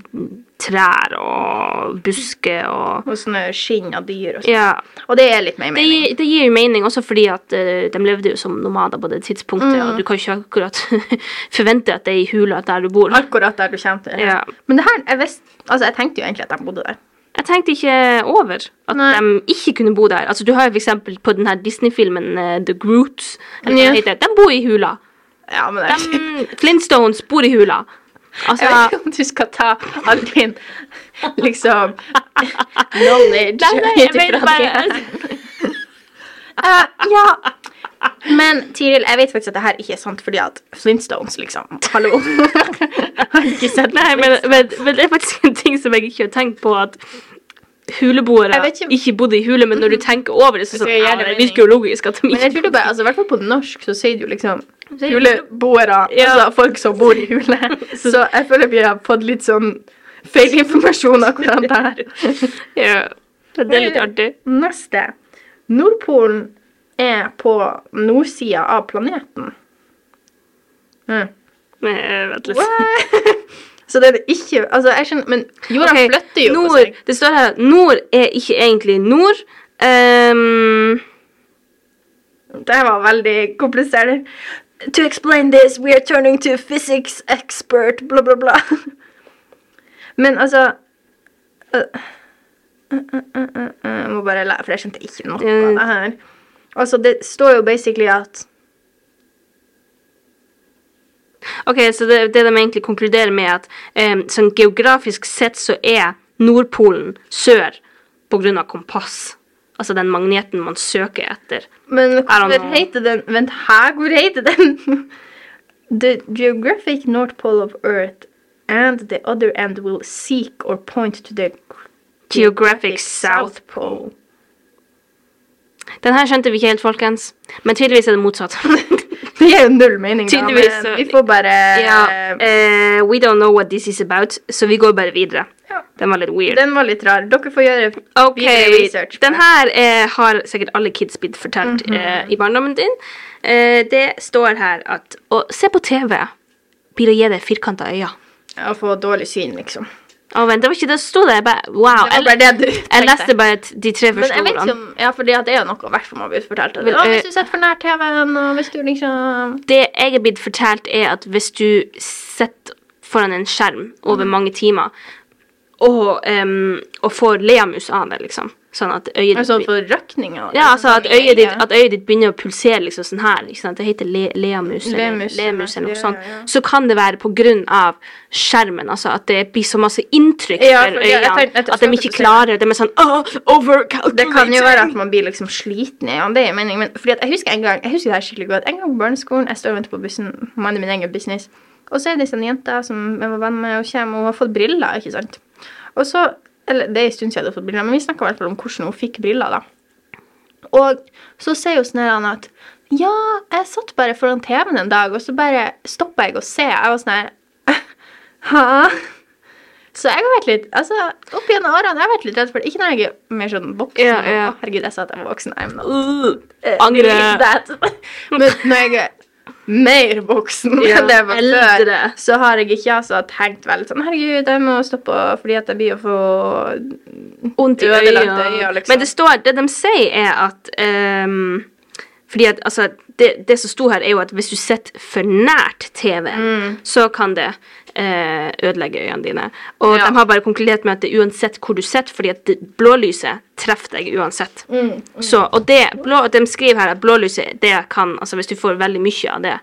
[SPEAKER 2] trær og busker og
[SPEAKER 3] Og sånne skinn av dyr og sånn.
[SPEAKER 2] Ja.
[SPEAKER 3] Og det er litt mer
[SPEAKER 2] Det
[SPEAKER 3] mening.
[SPEAKER 2] gir, det gir jo mening, også fordi at eh, de levde jo som nomader på det tidspunktet,
[SPEAKER 3] Mm.
[SPEAKER 2] og du kan ikke akkurat forvente at det er i hula der du bor.
[SPEAKER 3] Akkurat der du kommer til.
[SPEAKER 2] Ja.
[SPEAKER 3] Men det her, jeg visste Altså, jeg tenkte jo egentlig at de bodde der.
[SPEAKER 2] Jeg tenkte ikke over at
[SPEAKER 3] Nei.
[SPEAKER 2] de ikke kunne bo der. Altså, du har jo for eksempel på den her Disney-filmen eh, The Groots. Eller hva
[SPEAKER 3] Ja.
[SPEAKER 2] det heter. De bor i hula.
[SPEAKER 3] Ja, men jeg,
[SPEAKER 2] De, Flintstones bor i hula. Altså,
[SPEAKER 3] jeg vet ikke om du skal ta all din liksom knowledge
[SPEAKER 2] Nei, nei, jeg
[SPEAKER 3] ut ifra
[SPEAKER 2] mener bare
[SPEAKER 3] det. Eh, ja. Men Tiril, jeg vet faktisk at det her ikke er sant, fordi at Flintstones, liksom. Hallo. Har du ikke sett
[SPEAKER 2] Nei, men, men, men det er faktisk en ting som jeg ikke har tenkt på, at huleboere
[SPEAKER 3] Jeg vet
[SPEAKER 2] ikke,
[SPEAKER 3] ikke-
[SPEAKER 2] bodde i hule, men når du tenker over det, så
[SPEAKER 3] Det
[SPEAKER 2] sånn,
[SPEAKER 3] gir
[SPEAKER 2] ja,
[SPEAKER 3] det
[SPEAKER 2] det
[SPEAKER 3] mening.
[SPEAKER 2] virker jo logisk at de
[SPEAKER 3] Men jeg
[SPEAKER 2] ikke
[SPEAKER 3] tror det bare, altså i hvert fall på norsk så sier du liksom
[SPEAKER 2] sier du-
[SPEAKER 3] huleboere,
[SPEAKER 2] Ja.
[SPEAKER 3] altså folk som bor i hule. Så jeg føler vi har fått litt sånn feil informasjon akkurat der.
[SPEAKER 2] ja. Det er litt artig.
[SPEAKER 3] Neste. Nordpolen er på nordsida av planeten. Mm.
[SPEAKER 2] Men, eh, vent litt.
[SPEAKER 3] What? Så det er det ikke Altså, jeg skjønner Men jorda
[SPEAKER 2] Ok,
[SPEAKER 3] flytter jo på
[SPEAKER 2] nord,
[SPEAKER 3] seg.
[SPEAKER 2] Det står her at nord er ikke egentlig nord. Ehm,
[SPEAKER 3] Det var veldig komplisert. To explain this, we are turning to physics expert, bla, bla, bla. Men altså øh, øh, øh, øh, øh, øh, Jeg må bare lære, for jeg skjønte ikke noe av
[SPEAKER 2] Mm.
[SPEAKER 3] det her. Altså, det står jo basically at
[SPEAKER 2] ok, så det, det de egentlig konkluderer med, er at ehm, sånn geografisk sett så er Nordpolen sør pga. kompass. Altså den magneten man søker etter.
[SPEAKER 3] Men
[SPEAKER 2] know.
[SPEAKER 3] hvor heter den Vent, hæ? Hvor heter den? the geographic north pole of Earth and the other end will seek or point to the
[SPEAKER 2] Geographic South.
[SPEAKER 3] Pole.
[SPEAKER 2] Den her skjønte vi ikke helt, folkens. Men tydeligvis er det motsatt.
[SPEAKER 3] Det gir jo null mening, da,
[SPEAKER 2] Tydeligvis, så-
[SPEAKER 3] men vi får bare
[SPEAKER 2] ja, eh, we don't know what this is about, så vi går bare videre.
[SPEAKER 3] Ja.
[SPEAKER 2] Den var litt weird.
[SPEAKER 3] Den var litt rar. Dere får gjøre
[SPEAKER 2] Ok,
[SPEAKER 3] videre research. på
[SPEAKER 2] den
[SPEAKER 3] Mhm.
[SPEAKER 2] her eh, har sikkert alle kids blitt fortalt eh, i barndommen din. Eh, det står her at å se på TV blir å gi deg firkanta øyne.
[SPEAKER 3] Å få dårlig syn, liksom.
[SPEAKER 2] Å, vent, det var ikke det som sto der. Jeg bare, wow.
[SPEAKER 3] Det var
[SPEAKER 2] Jeg,
[SPEAKER 3] bare det du
[SPEAKER 2] jeg
[SPEAKER 3] tenkte.
[SPEAKER 2] leste bare t- de tre
[SPEAKER 3] Men
[SPEAKER 2] første
[SPEAKER 3] jeg vet ikke
[SPEAKER 2] ordene.
[SPEAKER 3] om Ja, fordi at det er jo noe i hvert fall man blir fortalt. at,
[SPEAKER 2] Vel,
[SPEAKER 3] «Å,
[SPEAKER 2] eh,
[SPEAKER 3] Hvis du sitter for nær TV-en, og hvis du liksom
[SPEAKER 2] Det jeg er blitt fortalt, er at hvis du sitter foran en skjerm over
[SPEAKER 3] Mhm.
[SPEAKER 2] mange timer og, em, og får leamus av det, liksom, sånn at øyet
[SPEAKER 3] Altså
[SPEAKER 2] ditt blir-
[SPEAKER 3] for røkninga.
[SPEAKER 2] Ja, altså at øyet, ditt, at øyet ditt begynner å pulsere liksom sånn her. Ikke sant? Det heter le, leamus eller
[SPEAKER 3] Lemus,
[SPEAKER 2] lemus eller noe
[SPEAKER 3] ja,
[SPEAKER 2] sånt.
[SPEAKER 3] ja, ja.
[SPEAKER 2] Så kan det være på grunn av skjermen, altså at det blir så masse inntrykk
[SPEAKER 3] Ja, for-
[SPEAKER 2] for
[SPEAKER 3] ja, jeg
[SPEAKER 2] øynene
[SPEAKER 3] tenkte- jeg
[SPEAKER 2] at de ikke
[SPEAKER 3] tenkte på det.
[SPEAKER 2] klarer De er sånn «Åh, overcalculating!»
[SPEAKER 3] Det kan jo være at man blir liksom sliten. Ja, det er meningen. Men fordi at jeg husker en gang jeg husker det her skikkelig godt. En gang på barneskolen, jeg står og venter på bussen, mannen min egen business, og så er det ei jente som jeg var venn med, og kommer, og hun har fått briller, ikke sant. Og så, eller Det er en stund siden hun har fått briller, men vi snakka i hvert fall om hvordan hun fikk briller. da. Og så sier hun sånn her Anna, at ja, jeg satt bare foran TV-en en dag, og så bare stoppa jeg å se. Jeg var sånn her Hæ? Så jeg har vært litt altså, opp gjennom årene, jeg har vært litt redd for det. Ikke når jeg er mer sånn voksen.
[SPEAKER 2] Ja, ja.
[SPEAKER 3] Å, herregud, jeg sa at jeg var voksen. I'm not.
[SPEAKER 2] Uh,
[SPEAKER 3] Eh,
[SPEAKER 2] Angre.
[SPEAKER 3] believe that. Men når jeg er mer voksen
[SPEAKER 2] Ja,
[SPEAKER 3] enn det jeg var før,
[SPEAKER 2] eldre.
[SPEAKER 3] så har jeg ikke altså, tenkt veldig sånn Herregud, jeg må stoppe fordi at jeg blir å få
[SPEAKER 2] Vondt i
[SPEAKER 3] Ødelagte
[SPEAKER 2] øynene.
[SPEAKER 3] øyne, liksom.
[SPEAKER 2] Men det står Det de sier, er at ehm, fordi at, altså, det, det som sto her, er jo at hvis du sitter for nært TV,
[SPEAKER 3] Mm.
[SPEAKER 2] så kan det eh, ødelegge øynene dine. Og
[SPEAKER 3] Ja.
[SPEAKER 2] de har bare konkludert med at det er uansett hvor du sitter, fordi at det- blålyset treffer deg uansett.
[SPEAKER 3] Mm,
[SPEAKER 2] Så, og det, blå, og de skriver her at blålyset, det kan, altså hvis du får veldig mye av det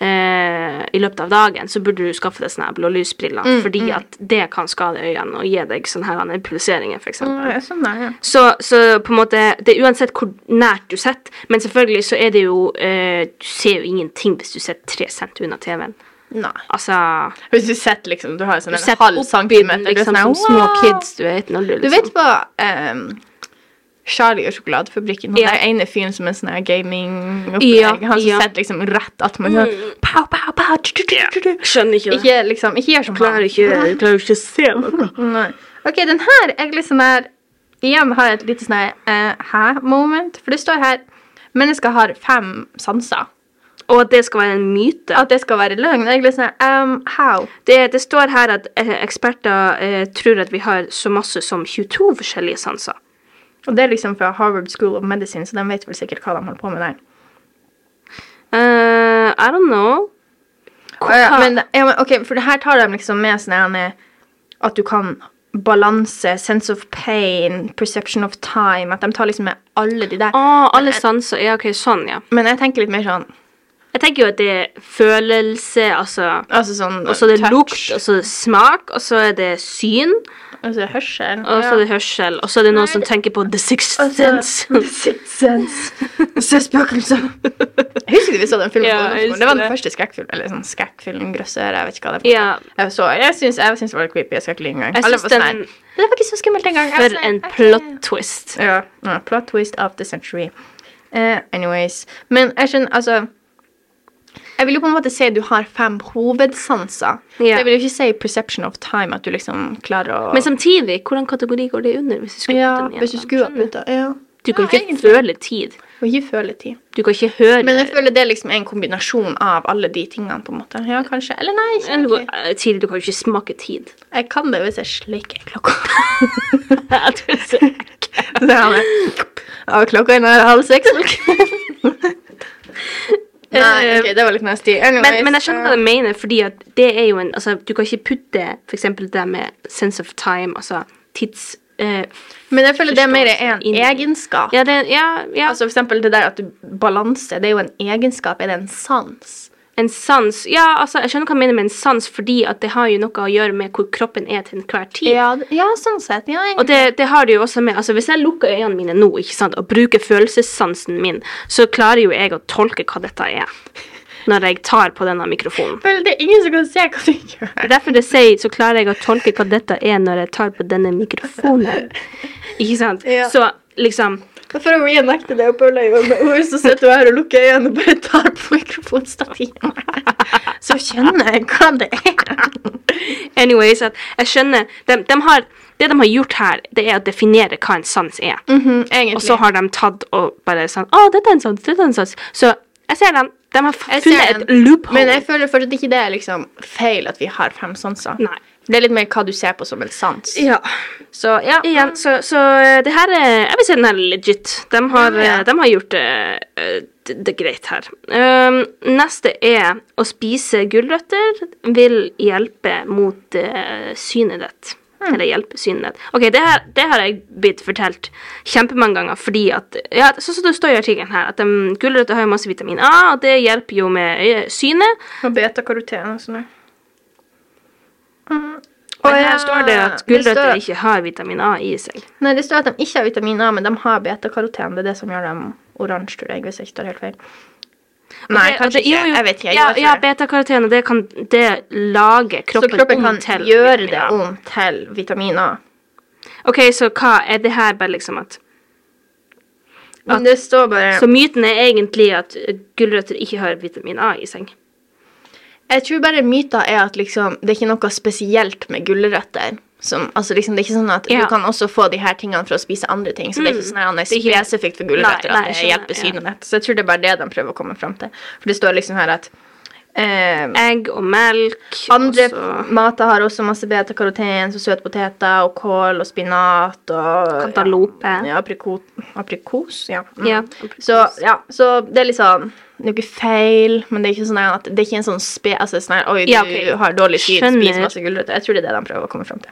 [SPEAKER 2] eh, i løpet av dagen, så burde du skaffe deg sånne her blålysbriller,
[SPEAKER 3] Mm,
[SPEAKER 2] fordi at det kan skade øynene og gi deg sånne her andre pulseringer, for eksempel.
[SPEAKER 3] Ja, Sånn der, ja.
[SPEAKER 2] Så, så på en måte, det er uansett hvor nært du sitter, men selvfølgelig så er det jo eh, Du ser jo ingenting hvis du sitter tre cent unna TV-en.
[SPEAKER 3] Nei.
[SPEAKER 2] Altså
[SPEAKER 3] Hvis du sitter liksom, du har sånn
[SPEAKER 2] Du
[SPEAKER 3] en
[SPEAKER 2] sitter
[SPEAKER 3] halv
[SPEAKER 2] oppi
[SPEAKER 3] centimeter
[SPEAKER 2] den
[SPEAKER 3] du er
[SPEAKER 2] liksom,
[SPEAKER 3] sånn her,
[SPEAKER 2] som små
[SPEAKER 3] wow.
[SPEAKER 2] kids. Du vet, når du, liksom.
[SPEAKER 3] Du vet på ehm, Charlie og sjokoladefabrikken, han
[SPEAKER 2] Ja.
[SPEAKER 3] der ene fyren som er sånn her gaming
[SPEAKER 2] Ja,
[SPEAKER 3] Han som
[SPEAKER 2] ja. Mm.
[SPEAKER 3] sitter liksom rett at man hører pow, pow, pow, tju, tju, tju, tju.
[SPEAKER 2] Skjønner ikke
[SPEAKER 3] Ikke liksom, ikke gjør som han.
[SPEAKER 2] ikke, klarer ikke å se noe.
[SPEAKER 3] Nei. Ok, den her er litt sånn her Igjen har jeg et lite sånn her eh, hæ-moment. For det står her mennesker har fem sanser.
[SPEAKER 2] Og at det skal være en myte.
[SPEAKER 3] At det skal være løgn. Jeg er litt sånn her um, How?
[SPEAKER 2] Det, det står her at eh, eksperter eh, tror at vi har så masse som 22 forskjellige sanser.
[SPEAKER 3] Og det er liksom fra Harvard School of Medicine, så de vet vel sikkert hva de holder på med der.
[SPEAKER 2] Eh, I don't know.
[SPEAKER 3] Ja, ja, men, ja, men ok, for det her tar de liksom med sånn her, eh, at du kan balanse, sense of pain, perception of time, at de tar liksom med alle de der.
[SPEAKER 2] Å, alle sanser. Ja, OK, sånn, ja.
[SPEAKER 3] Men jeg tenker litt mer sånn,
[SPEAKER 2] Jeg tenker jo at det er følelse, altså
[SPEAKER 3] altså sånn
[SPEAKER 2] Og så er det
[SPEAKER 3] touch,
[SPEAKER 2] lukt, og så er det smak, og så er det syn,
[SPEAKER 3] og så hørsel.
[SPEAKER 2] og så er det hørsel, og så er det noen
[SPEAKER 3] Nei,
[SPEAKER 2] som
[SPEAKER 3] det-
[SPEAKER 2] tenker på the sixth
[SPEAKER 3] Og så-
[SPEAKER 2] sense.
[SPEAKER 3] Sixth sense. Se spøkelser. Jeg husker vi så den filmen.
[SPEAKER 2] Ja,
[SPEAKER 3] på
[SPEAKER 2] jeg
[SPEAKER 3] ungdomsskolen.
[SPEAKER 2] husker
[SPEAKER 3] det var den
[SPEAKER 2] det.
[SPEAKER 3] første skrekkfilmen, eller sånn skrekkfilm, grøssør, jeg vet ikke hva det er.
[SPEAKER 2] Ja,
[SPEAKER 3] Jeg, så, jeg, syns, jeg syns det var creepy, jeg skal ikke lyve engang.
[SPEAKER 2] Jeg
[SPEAKER 3] Alle
[SPEAKER 2] syns
[SPEAKER 3] var sånn
[SPEAKER 2] den-
[SPEAKER 3] her, Det var ikke så skummelt engang. Jeg var
[SPEAKER 2] for
[SPEAKER 3] sånn her,
[SPEAKER 2] en
[SPEAKER 3] ok.
[SPEAKER 2] plot twist.
[SPEAKER 3] Ja, ja, plot twist of the century. Eh, anyways. Men jeg skjønner, altså Jeg vil jo på en måte si du har fem hovedsanser.
[SPEAKER 2] Ja.
[SPEAKER 3] Jeg vil jo ikke si perception of time, at du liksom klarer å
[SPEAKER 2] Men samtidig, hvordan kategori går det under? hvis du skulle
[SPEAKER 3] Ja,
[SPEAKER 2] putte den i en
[SPEAKER 3] hvis du
[SPEAKER 2] sånn?
[SPEAKER 3] skulle ha putta ja.
[SPEAKER 2] Du kan
[SPEAKER 3] Ja,
[SPEAKER 2] ikke
[SPEAKER 3] egentlig.
[SPEAKER 2] føle tid.
[SPEAKER 3] Og ikke føle tid.
[SPEAKER 2] Du kan ikke høre
[SPEAKER 3] Men jeg føler det er liksom en kombinasjon av alle de tingene, på en måte. Ja, kanskje. Eller nei, ikke
[SPEAKER 2] Eller,
[SPEAKER 3] egentlig.
[SPEAKER 2] eh, Tidlig, du kan jo ikke smake tid.
[SPEAKER 3] Jeg kan det hvis jeg slikker klokka.
[SPEAKER 2] Jeg tror så-
[SPEAKER 3] Så har jeg Ja, klokka er nær halv seks. nei, ok, det var litt nasty. Anyways,
[SPEAKER 2] men, men jeg skjønner hva du mener, fordi at det er jo en altså, Du kan ikke putte f.eks. det med sense of time, altså tids... eh,
[SPEAKER 3] Men jeg føler det er mer en
[SPEAKER 2] Inn-
[SPEAKER 3] egenskap.
[SPEAKER 2] ja, det, ja, ja.
[SPEAKER 3] Altså for eksempel det der at du balanse, det er jo en egenskap, er det en sans?
[SPEAKER 2] En sans Ja, altså, jeg skjønner hva du mener med en sans, fordi at det har jo noe å gjøre med hvor kroppen er til enhver tid.
[SPEAKER 3] Ja, d- ja sånn sett. Ja,
[SPEAKER 2] Og det, det har det jo også med altså Hvis jeg lukker øynene mine nå ikke sant, og bruker følelsessansen min, så klarer jo jeg å tolke hva dette er, når jeg tar på denne mikrofonen.
[SPEAKER 3] føler det er ingen som kan se hva du gjør.
[SPEAKER 2] Det er derfor det sier så klarer jeg å tolke hva dette er, når jeg tar på denne mikrofonen. Ikke sant?
[SPEAKER 3] Ja.
[SPEAKER 2] Så liksom
[SPEAKER 3] For å gjenekte det og pøle øynene med ord, så sitter du her og lukker øynene og bare tar på mikrofonstativet. Så kjenner jeg hva det er.
[SPEAKER 2] Anyways, at jeg skjønner de, de har, Det de har gjort her, det er å definere hva en sans er.
[SPEAKER 3] Mhm, egentlig.
[SPEAKER 2] Og så har de tatt og bare sånn Å, dette er en sans, dette er en sans. Så jeg ser dem. De har
[SPEAKER 3] Jeg
[SPEAKER 2] funnet
[SPEAKER 3] ser
[SPEAKER 2] et
[SPEAKER 3] den.
[SPEAKER 2] loophole.
[SPEAKER 3] Men jeg føler fortsatt ikke det er liksom feil at vi har fem sanser.
[SPEAKER 2] Nei.
[SPEAKER 3] Det er litt mer hva du ser på som en sans.
[SPEAKER 2] ja.
[SPEAKER 3] Så ja.
[SPEAKER 2] Igjen, så, så eh, det her er Jeg vil si den her er legit. De har,
[SPEAKER 3] Ja, ja.
[SPEAKER 2] eh, De har gjort det, eh, d- det greit her. Um, neste er å spise gulrøtter vil hjelpe mot eh, synet ditt. Eller hjelpe synet ditt. Ok, det her, det her har jeg blitt fortalt kjempemange ganger fordi at ja, Sånn som det står i artikkelen her, at um, gulrøtter har jo masse vitamin A, og det hjelper jo med øye- synet.
[SPEAKER 3] Og betakaroten og sånn. Mm.
[SPEAKER 2] Og her står det at gulrøtter ikke har vitamin A i seg.
[SPEAKER 3] Nei, det står at de ikke har vitamin A, men de har betakaroten. Det er det som gjør dem oransje, tror jeg, hvis jeg ikke tar helt feil. Nei,
[SPEAKER 2] Det-
[SPEAKER 3] kanskje
[SPEAKER 2] det- jo,
[SPEAKER 3] ikke.
[SPEAKER 2] jo.
[SPEAKER 3] Jeg vet ikke. Jeg
[SPEAKER 2] ja,
[SPEAKER 3] gjør
[SPEAKER 2] ja,
[SPEAKER 3] ikke det.
[SPEAKER 2] beta-karoten, og det, kan, det lager
[SPEAKER 3] Så
[SPEAKER 2] kroppen,
[SPEAKER 3] kroppen
[SPEAKER 2] om
[SPEAKER 3] kan
[SPEAKER 2] til
[SPEAKER 3] gjøre
[SPEAKER 2] vitamin
[SPEAKER 3] det
[SPEAKER 2] A.
[SPEAKER 3] om til vitamin A.
[SPEAKER 2] OK, så hva er det her bare liksom at
[SPEAKER 3] Men det står bare
[SPEAKER 2] Så myten er egentlig at eh, gulrøtter ikke har vitamin A i seg.
[SPEAKER 3] Jeg tror bare myta er at liksom, det er ikke noe spesielt med gulrøtter. Som, altså liksom, det er ikke sånn at
[SPEAKER 2] Ja.
[SPEAKER 3] Du kan også få de her tingene for å spise andre ting. Så det er ikke sånn at det
[SPEAKER 2] Det er
[SPEAKER 3] er
[SPEAKER 2] ikke-
[SPEAKER 3] spesifikt for
[SPEAKER 2] Nei,
[SPEAKER 3] gulrøtter
[SPEAKER 2] nei,
[SPEAKER 3] at
[SPEAKER 2] jeg
[SPEAKER 3] det
[SPEAKER 2] skjønner,
[SPEAKER 3] hjelper synet ditt. Så jeg tror det er bare det de prøver å komme fram til. For det står liksom her at eh,
[SPEAKER 2] Egg og melk
[SPEAKER 3] andre
[SPEAKER 2] og så
[SPEAKER 3] mater har også masse beta-karoten, så søtpoteter og kål og spinat og
[SPEAKER 2] Cantaloupe.
[SPEAKER 3] Ja, ja, apriko, aprikos. Ja. Mm.
[SPEAKER 2] Ja,
[SPEAKER 3] Så, ja, så det er litt sånn Det er jo ikke feil, men det er ikke sånn at Det er ikke en sånn spe... Altså sånn her Oi, du
[SPEAKER 2] Ja, ok.
[SPEAKER 3] har dårlig tid, spis
[SPEAKER 2] Skjønner.
[SPEAKER 3] masse gulrøtter. Jeg tror det er det de prøver å komme fram til.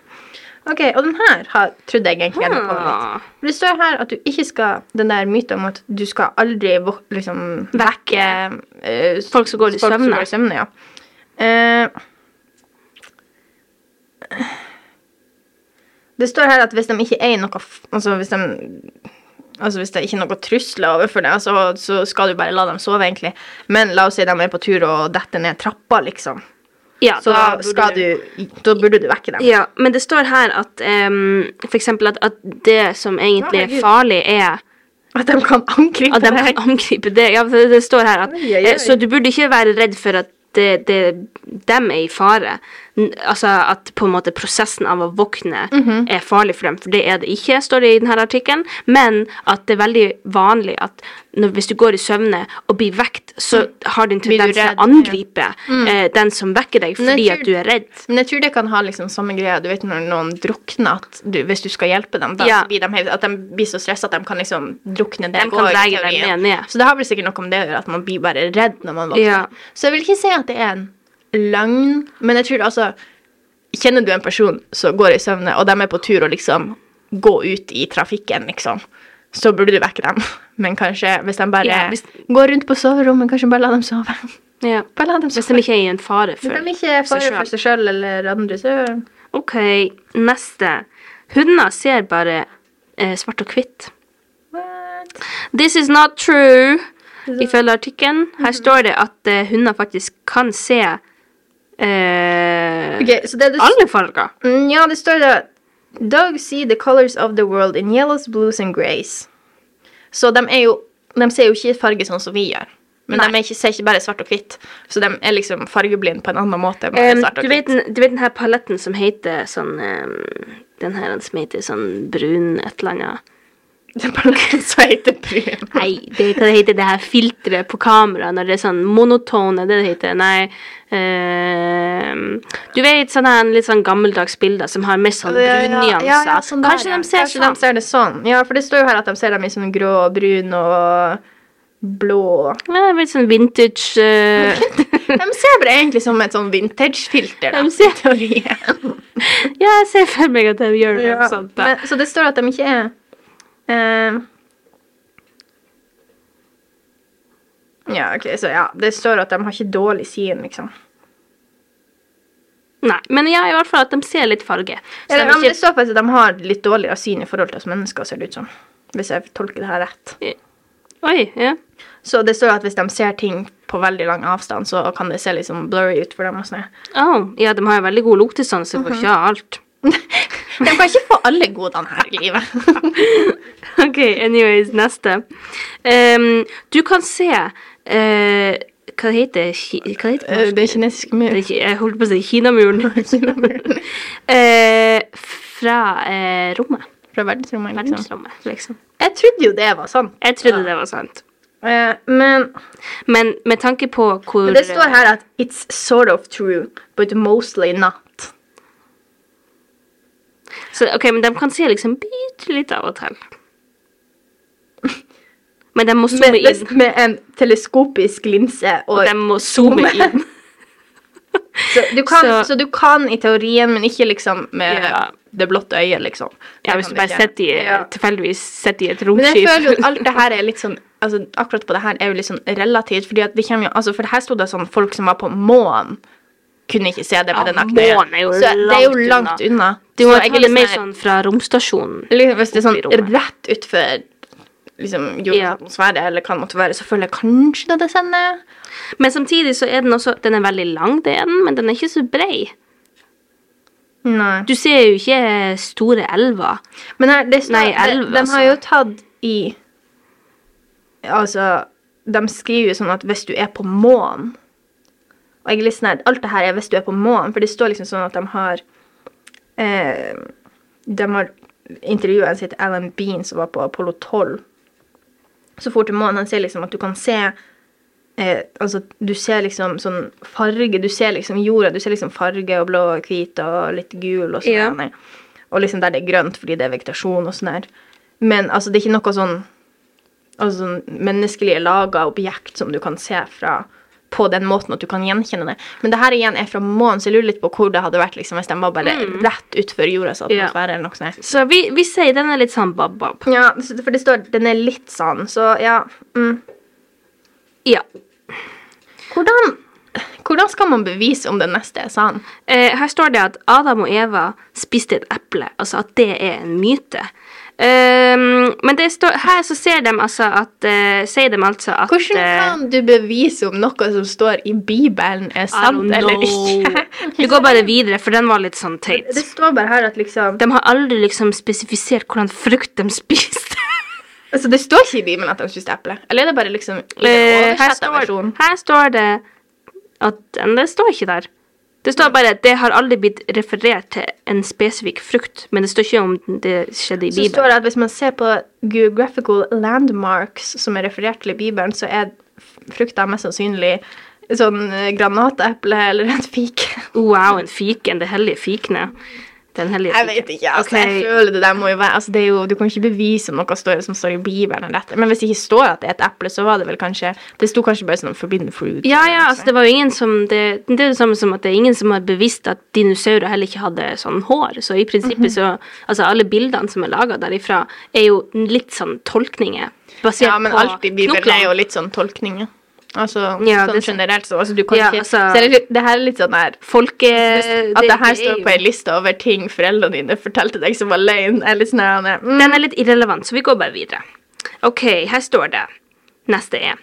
[SPEAKER 3] Ok, Og den her har, trodde jeg egentlig hadde kommet litt.
[SPEAKER 2] Ah.
[SPEAKER 3] For Det står her at du ikke skal Den der myten om at du skal aldri vå- liksom vekke eh, s-
[SPEAKER 2] Folk som går i
[SPEAKER 3] folk
[SPEAKER 2] søvne.
[SPEAKER 3] går i søvne, ja. Eh, det står her at hvis de ikke er i noe f- Altså hvis de Altså Hvis det ikke er noen trusler overfor deg, altså, så skal du bare la dem sove. egentlig. Men la oss si de er på tur og detter ned trappa, liksom.
[SPEAKER 2] ja,
[SPEAKER 3] Så
[SPEAKER 2] da burde
[SPEAKER 3] skal du, da burde du vekke dem.
[SPEAKER 2] Ja, men det står her at um, for eksempel at, at det som egentlig
[SPEAKER 3] Å, herregud.
[SPEAKER 2] er farlig, er
[SPEAKER 3] At de kan angripe
[SPEAKER 2] at de
[SPEAKER 3] deg.
[SPEAKER 2] kan angripe det. Ja, for det, det står her at
[SPEAKER 3] Oi, oi, oi.
[SPEAKER 2] eh, Så du burde ikke være redd for at det, det, dem er i fare. N altså at på en måte prosessen av å våkne
[SPEAKER 3] Mhm.
[SPEAKER 2] er farlig for dem, for det er det ikke, står det i denne artikkelen. Men at det er veldig vanlig at når, hvis du går i søvne og blir vekt, så har du en
[SPEAKER 3] Mm. Blir du
[SPEAKER 2] tendens til å
[SPEAKER 3] redd, Mm. ja.
[SPEAKER 2] angripe eh, den som vekker deg
[SPEAKER 3] Men jeg
[SPEAKER 2] fordi at
[SPEAKER 3] tror-
[SPEAKER 2] du er redd.
[SPEAKER 3] Men jeg tror det kan ha liksom samme greia du vet når noen drukner. at du, Hvis du skal hjelpe dem, da,
[SPEAKER 2] Ja.
[SPEAKER 3] så blir de, helt- at de blir så stressa at de kan liksom drukne
[SPEAKER 2] De kan
[SPEAKER 3] deg. også, i
[SPEAKER 2] drege deg med
[SPEAKER 3] teorien.
[SPEAKER 2] ned.
[SPEAKER 3] Så det har vel sikkert noe med det å gjøre, at man blir bare redd når man våkner.
[SPEAKER 2] Ja.
[SPEAKER 3] Så jeg vil ikke si at det er en løgn, men jeg tror altså Kjenner du en person som går i søvne, og de er på tur og liksom gå ut i trafikken, liksom, så burde du vekke dem. Men kanskje hvis de bare
[SPEAKER 2] Ja, hvis-
[SPEAKER 3] går rundt på soverommet, kanskje bare la dem sove.
[SPEAKER 2] Ja.
[SPEAKER 3] Bare la dem sove.
[SPEAKER 2] Hvis de ikke er i en fare for
[SPEAKER 3] Hvis de ikke er
[SPEAKER 2] seg
[SPEAKER 3] fare for
[SPEAKER 2] selv.
[SPEAKER 3] seg sjøl eller andre, så
[SPEAKER 2] OK, neste. Hunder ser bare eh, svart og hvitt.
[SPEAKER 3] What?
[SPEAKER 2] This is not true. Ifølge artikkelen. Her står det at eh, hunder faktisk kan se eh,
[SPEAKER 3] Ok, så det det,
[SPEAKER 2] alle farger.
[SPEAKER 3] Mm, ja, det står der Dogs see the colors of the world in yellows, blues and grays. Så de, er jo, de ser jo ikke farge sånn som vi gjør. Men de er ikke, ser ikke bare svart og hvitt. Så de er liksom fargeblind på en annen måte. enn bare
[SPEAKER 2] Um,
[SPEAKER 3] svart og
[SPEAKER 2] du, vet,
[SPEAKER 3] hvitt.
[SPEAKER 2] den- du vet den her paletten som heter sånn um, Den her den som heter sånn brun et eller annet.
[SPEAKER 3] Det er bare noe som heter prem.
[SPEAKER 2] Nei, det, hva det heter det her filteret på kamera når det er sånn monotone, det det heter. Nei ehm, Du vet sånne her litt sånn gammeldags bilder som har mest sånn brunnyanser.
[SPEAKER 3] Ja, ja, sånn der,
[SPEAKER 2] Kanskje
[SPEAKER 3] ja.
[SPEAKER 2] de ser
[SPEAKER 3] Kanskje de
[SPEAKER 2] sånn.
[SPEAKER 3] ser det sånn. Ja, for det står jo her at de ser dem i sånn grå, brun og blå.
[SPEAKER 2] Ja, litt sånn vintage eh,
[SPEAKER 3] De ser bare egentlig som et sånn vintage-filter.
[SPEAKER 2] De
[SPEAKER 3] ser teorien.
[SPEAKER 2] Ja, jeg ser for meg at de gjør noe
[SPEAKER 3] Ja,
[SPEAKER 2] sånt. da.
[SPEAKER 3] men, så det står at de ikke er eh, Ja, ok, så ja, det står at de har ikke dårlig syn, liksom.
[SPEAKER 2] Nei, men ja, i hvert fall at de ser litt farge. Så
[SPEAKER 3] Eller, ja, men
[SPEAKER 2] de
[SPEAKER 3] det står faktisk at de har litt dårligere syn i forhold til oss mennesker, ser det ut som. Hvis jeg tolker det her rett.
[SPEAKER 2] ikke... Oi, ja.
[SPEAKER 3] Så det står at hvis de ser ting på veldig lang avstand, så kan det se litt sånn blurry ut for dem. og sånn.
[SPEAKER 2] Å, ja, de har jo veldig god luktesans, så de
[SPEAKER 3] Mhm.
[SPEAKER 2] får ikke ha alt.
[SPEAKER 3] De kan ikke få alle godene her i livet.
[SPEAKER 2] Ok, anyways, neste. Ehm, du kan se eh, Hva det heter Ki- hva det? Heter det?
[SPEAKER 3] Eh, det er kinesisk
[SPEAKER 2] Det
[SPEAKER 3] mur.
[SPEAKER 2] er ikke- Jeg holdt på å si Kinamuren. Eh, fra eh, rommet.
[SPEAKER 3] Fra verdensrommet, liksom.
[SPEAKER 2] Verdensrommet, liksom.
[SPEAKER 3] Jeg trodde jo det var sånn.
[SPEAKER 2] Jeg trodde det var sant.
[SPEAKER 3] Eh, men
[SPEAKER 2] Men med tanke på hvor
[SPEAKER 3] Men det står her at it's sort of true, but mostly not.
[SPEAKER 2] Så, ok, men de kan se liksom bitte litt av og til. Men de må
[SPEAKER 3] Med,
[SPEAKER 2] zoome inn.
[SPEAKER 3] med en teleskopisk linse. Og,
[SPEAKER 2] De må zoome
[SPEAKER 3] zoome.
[SPEAKER 2] inn.
[SPEAKER 3] så, du kan,
[SPEAKER 2] så-
[SPEAKER 3] så, du kan i teorien, men ikke liksom med
[SPEAKER 2] Ja.
[SPEAKER 3] det blotte øyet, liksom.
[SPEAKER 2] Ja,
[SPEAKER 3] Det
[SPEAKER 2] hvis du
[SPEAKER 3] kan du
[SPEAKER 2] bare
[SPEAKER 3] ikke.
[SPEAKER 2] sitter i,
[SPEAKER 3] Ja.
[SPEAKER 2] tilfeldigvis sitter i et
[SPEAKER 3] Men jeg føler jo
[SPEAKER 2] romskip.
[SPEAKER 3] at alt det her er litt sånn altså, Akkurat på det her er jo litt sånn relativt, fordi at vi kommer jo altså, For her sto det sånn folk som var på månen, kunne ikke se det
[SPEAKER 2] Ja,
[SPEAKER 3] med det nakne øyet.
[SPEAKER 2] månen er jo
[SPEAKER 3] Så det er jo
[SPEAKER 2] langt
[SPEAKER 3] langt unna.
[SPEAKER 2] Du må
[SPEAKER 3] Så jeg
[SPEAKER 2] ta
[SPEAKER 3] er
[SPEAKER 2] det
[SPEAKER 3] litt
[SPEAKER 2] mer
[SPEAKER 3] sånn
[SPEAKER 2] sånn fra romstasjonen.
[SPEAKER 3] Liksom, hvis det er
[SPEAKER 2] Opp i
[SPEAKER 3] sånn
[SPEAKER 2] rommet.
[SPEAKER 3] rett utfor liksom, jordens
[SPEAKER 2] Ja.
[SPEAKER 3] atmosfære, eller hva det måtte være, så føler jeg kanskje det er det sende.
[SPEAKER 2] Men samtidig så er den også Den er veldig lang, det er den, men den er ikke så brei.
[SPEAKER 3] Nei.
[SPEAKER 2] Du ser jo ikke store elver.
[SPEAKER 3] Men her, det står,
[SPEAKER 2] Nei, elv,
[SPEAKER 3] de, de har
[SPEAKER 2] altså.
[SPEAKER 3] jo tatt i Altså, de skriver jo sånn at hvis du er på månen Og jeg er litt sånn her Alt det her er hvis du er på månen, for det står liksom sånn at de har eh, De har intervjua en som heter Alan Bean, som var på Apollo 12. Så fort til månen. Han ser liksom at du kan se eh, Altså, du ser liksom sånn farge Du ser liksom jorda. Du ser liksom farge og blå og hvit og litt gul og sånn.
[SPEAKER 2] Ja.
[SPEAKER 3] der. Og liksom der det er grønt fordi det er vegetasjon og sånn der. Men altså, det er ikke noe sånn Altså sånn menneskelige laga objekt som du kan se fra på den måten at du kan gjenkjenne det. Men det her igjen er fra månen, så jeg lurer litt på hvor det hadde vært liksom, hvis de var bare rett utfor jordas
[SPEAKER 2] Mm. Ja.
[SPEAKER 3] atmosfære. eller noe sånt. der.
[SPEAKER 2] Så vi, vi sier den er litt sånn bab-bab.
[SPEAKER 3] Ja, så- for det står den er litt sånn, så ja. Mm.
[SPEAKER 2] Ja.
[SPEAKER 3] Hvordan, hvordan skal man bevise om den neste er sann?
[SPEAKER 2] Eh, her står det at Adam og Eva spiste et eple, altså at det er en myte. Ehm, men det står, her så ser de altså at eh, Sier de altså at
[SPEAKER 3] Hvordan
[SPEAKER 2] eh,
[SPEAKER 3] kan du bevise om noe som står i Bibelen,
[SPEAKER 2] I
[SPEAKER 3] er
[SPEAKER 2] don't
[SPEAKER 3] sant eller ikke?
[SPEAKER 2] know. Vi går bare videre, for den var litt sånn teit.
[SPEAKER 3] Det står bare her at liksom
[SPEAKER 2] De har aldri liksom spesifisert hvordan frukt de spiste.
[SPEAKER 3] Altså, det står ikke i Bibelen at de spiste eple. Eller er det bare liksom i den
[SPEAKER 2] Eh, her,
[SPEAKER 3] oversatte
[SPEAKER 2] står,
[SPEAKER 3] versjonen?
[SPEAKER 2] her står det at Men det står ikke der. Det står bare at det har aldri blitt referert til en spesifikk frukt, men det står ikke om det skjedde i
[SPEAKER 3] Så står
[SPEAKER 2] Bibelen.
[SPEAKER 3] det at hvis man ser på geographical landmarks som er referert til i Bibelen, så er frukta mest sannsynlig sånn eh, granateple eller en fike.
[SPEAKER 2] Wow, en fiken. Det hellige fikene. Den hellige
[SPEAKER 3] Jeg
[SPEAKER 2] fiken.
[SPEAKER 3] vet ikke. altså,
[SPEAKER 2] Ok.
[SPEAKER 3] jeg føler det der må jo være, altså, det er jo, Du kan ikke bevise om noe står, som står i Bibelen. eller dette. Men hvis det ikke står at det er et eple, så var det vel kanskje Det sto kanskje bare sånn forbidden fruit.
[SPEAKER 2] Ja, ja, altså det var jo ingen som det, det er det samme som at det er ingen som har bevisst at dinosaurer heller ikke hadde sånn hår. Så i prinsippet
[SPEAKER 3] Mhm.
[SPEAKER 2] så Altså alle bildene som er laga derifra, er jo litt sånn tolkninger basert
[SPEAKER 3] Ja, men
[SPEAKER 2] på
[SPEAKER 3] alt i Bibelen
[SPEAKER 2] knoklene.
[SPEAKER 3] er jo litt sånn tolkninger. Altså,
[SPEAKER 2] Ja, det er
[SPEAKER 3] sånn
[SPEAKER 2] sant.
[SPEAKER 3] generelt, så altså, du kan
[SPEAKER 2] Ja,
[SPEAKER 3] ikke
[SPEAKER 2] altså-
[SPEAKER 3] så det, er litt- det her er litt sånn her
[SPEAKER 2] Folke...
[SPEAKER 3] At Altså, det, her
[SPEAKER 2] er
[SPEAKER 3] står
[SPEAKER 2] jo-
[SPEAKER 3] på ei liste over ting foreldrene dine fortalte deg som var løgn. er litt sånn her, Anne. Mm.
[SPEAKER 2] Den er litt irrelevant, så vi går bare videre. OK, her står det. Neste er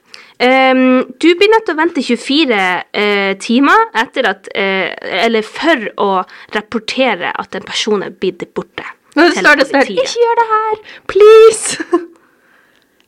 [SPEAKER 2] ehm, Du blir nødt til å vente 24 eh, timer etter at eh, Eller for å rapportere at en person er blitt borte.
[SPEAKER 3] Nå
[SPEAKER 2] til
[SPEAKER 3] står det sånn her,
[SPEAKER 2] politiet.
[SPEAKER 3] Ikke gjør det her! Please!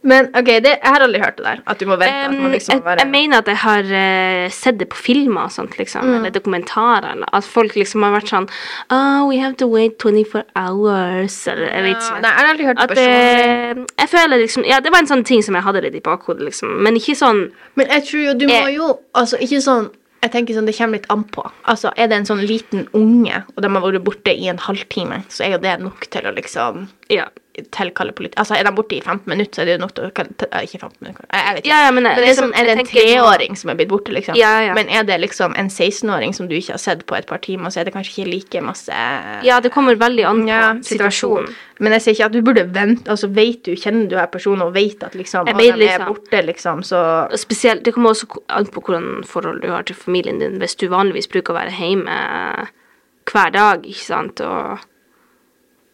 [SPEAKER 3] Men ok, det, jeg har aldri hørt det der. At du må vente. at
[SPEAKER 2] Em,
[SPEAKER 3] man liksom
[SPEAKER 2] Ehm, jeg,
[SPEAKER 3] må være...
[SPEAKER 2] jeg mener at jeg har eh, sett det på filmer og sånt, liksom,
[SPEAKER 3] Mm.
[SPEAKER 2] eller dokumentarer. Eller, at folk liksom har vært sånn Oh, we have to wait 24 hours. Eller jeg vet
[SPEAKER 3] Ja,
[SPEAKER 2] ikke.
[SPEAKER 3] Nei, jeg har aldri hørt
[SPEAKER 2] At
[SPEAKER 3] spørsmålet.
[SPEAKER 2] eh, jeg føler liksom Ja, det var en sånn ting som jeg hadde litt i bakhodet, liksom. Men ikke sånn
[SPEAKER 3] Men jeg tror jo du må
[SPEAKER 2] Eh.
[SPEAKER 3] jo Altså, ikke sånn Jeg tenker sånn, det kommer litt an på. Altså, Er det en sånn liten unge, og de har vært borte i en halvtime, så er jo det nok til å liksom
[SPEAKER 2] Ja.
[SPEAKER 3] tilkalle politi... Altså, er de borte i 15 minutter, så er det jo nok til å kan- til- eh, Ikke 15 minutter, jeg, jeg vet ikke.
[SPEAKER 2] Ja, ja, men jeg-
[SPEAKER 3] Men det er,
[SPEAKER 2] liksom,
[SPEAKER 3] sånn, er det
[SPEAKER 2] jeg
[SPEAKER 3] en
[SPEAKER 2] tenker sånn-
[SPEAKER 3] treåring som er blitt borte, liksom?
[SPEAKER 2] Ja, ja.
[SPEAKER 3] Men er det liksom en 16-åring som du ikke har sett på et par timer, så er det kanskje ikke like masse
[SPEAKER 2] Ja, det kommer veldig an på
[SPEAKER 3] Ja, situasjonen.
[SPEAKER 2] situasjonen.
[SPEAKER 3] Men jeg sier ikke at du burde vente. Altså, vet du, Kjenner du her personen og vet at liksom,
[SPEAKER 2] Jeg
[SPEAKER 3] at
[SPEAKER 2] vet
[SPEAKER 3] de er
[SPEAKER 2] liksom.
[SPEAKER 3] borte, liksom, så
[SPEAKER 2] Og Spesielt, Det kommer også ko- an på hvordan forhold du har til familien din. Hvis du vanligvis bruker å være hjemme eh, hver dag, ikke sant, og,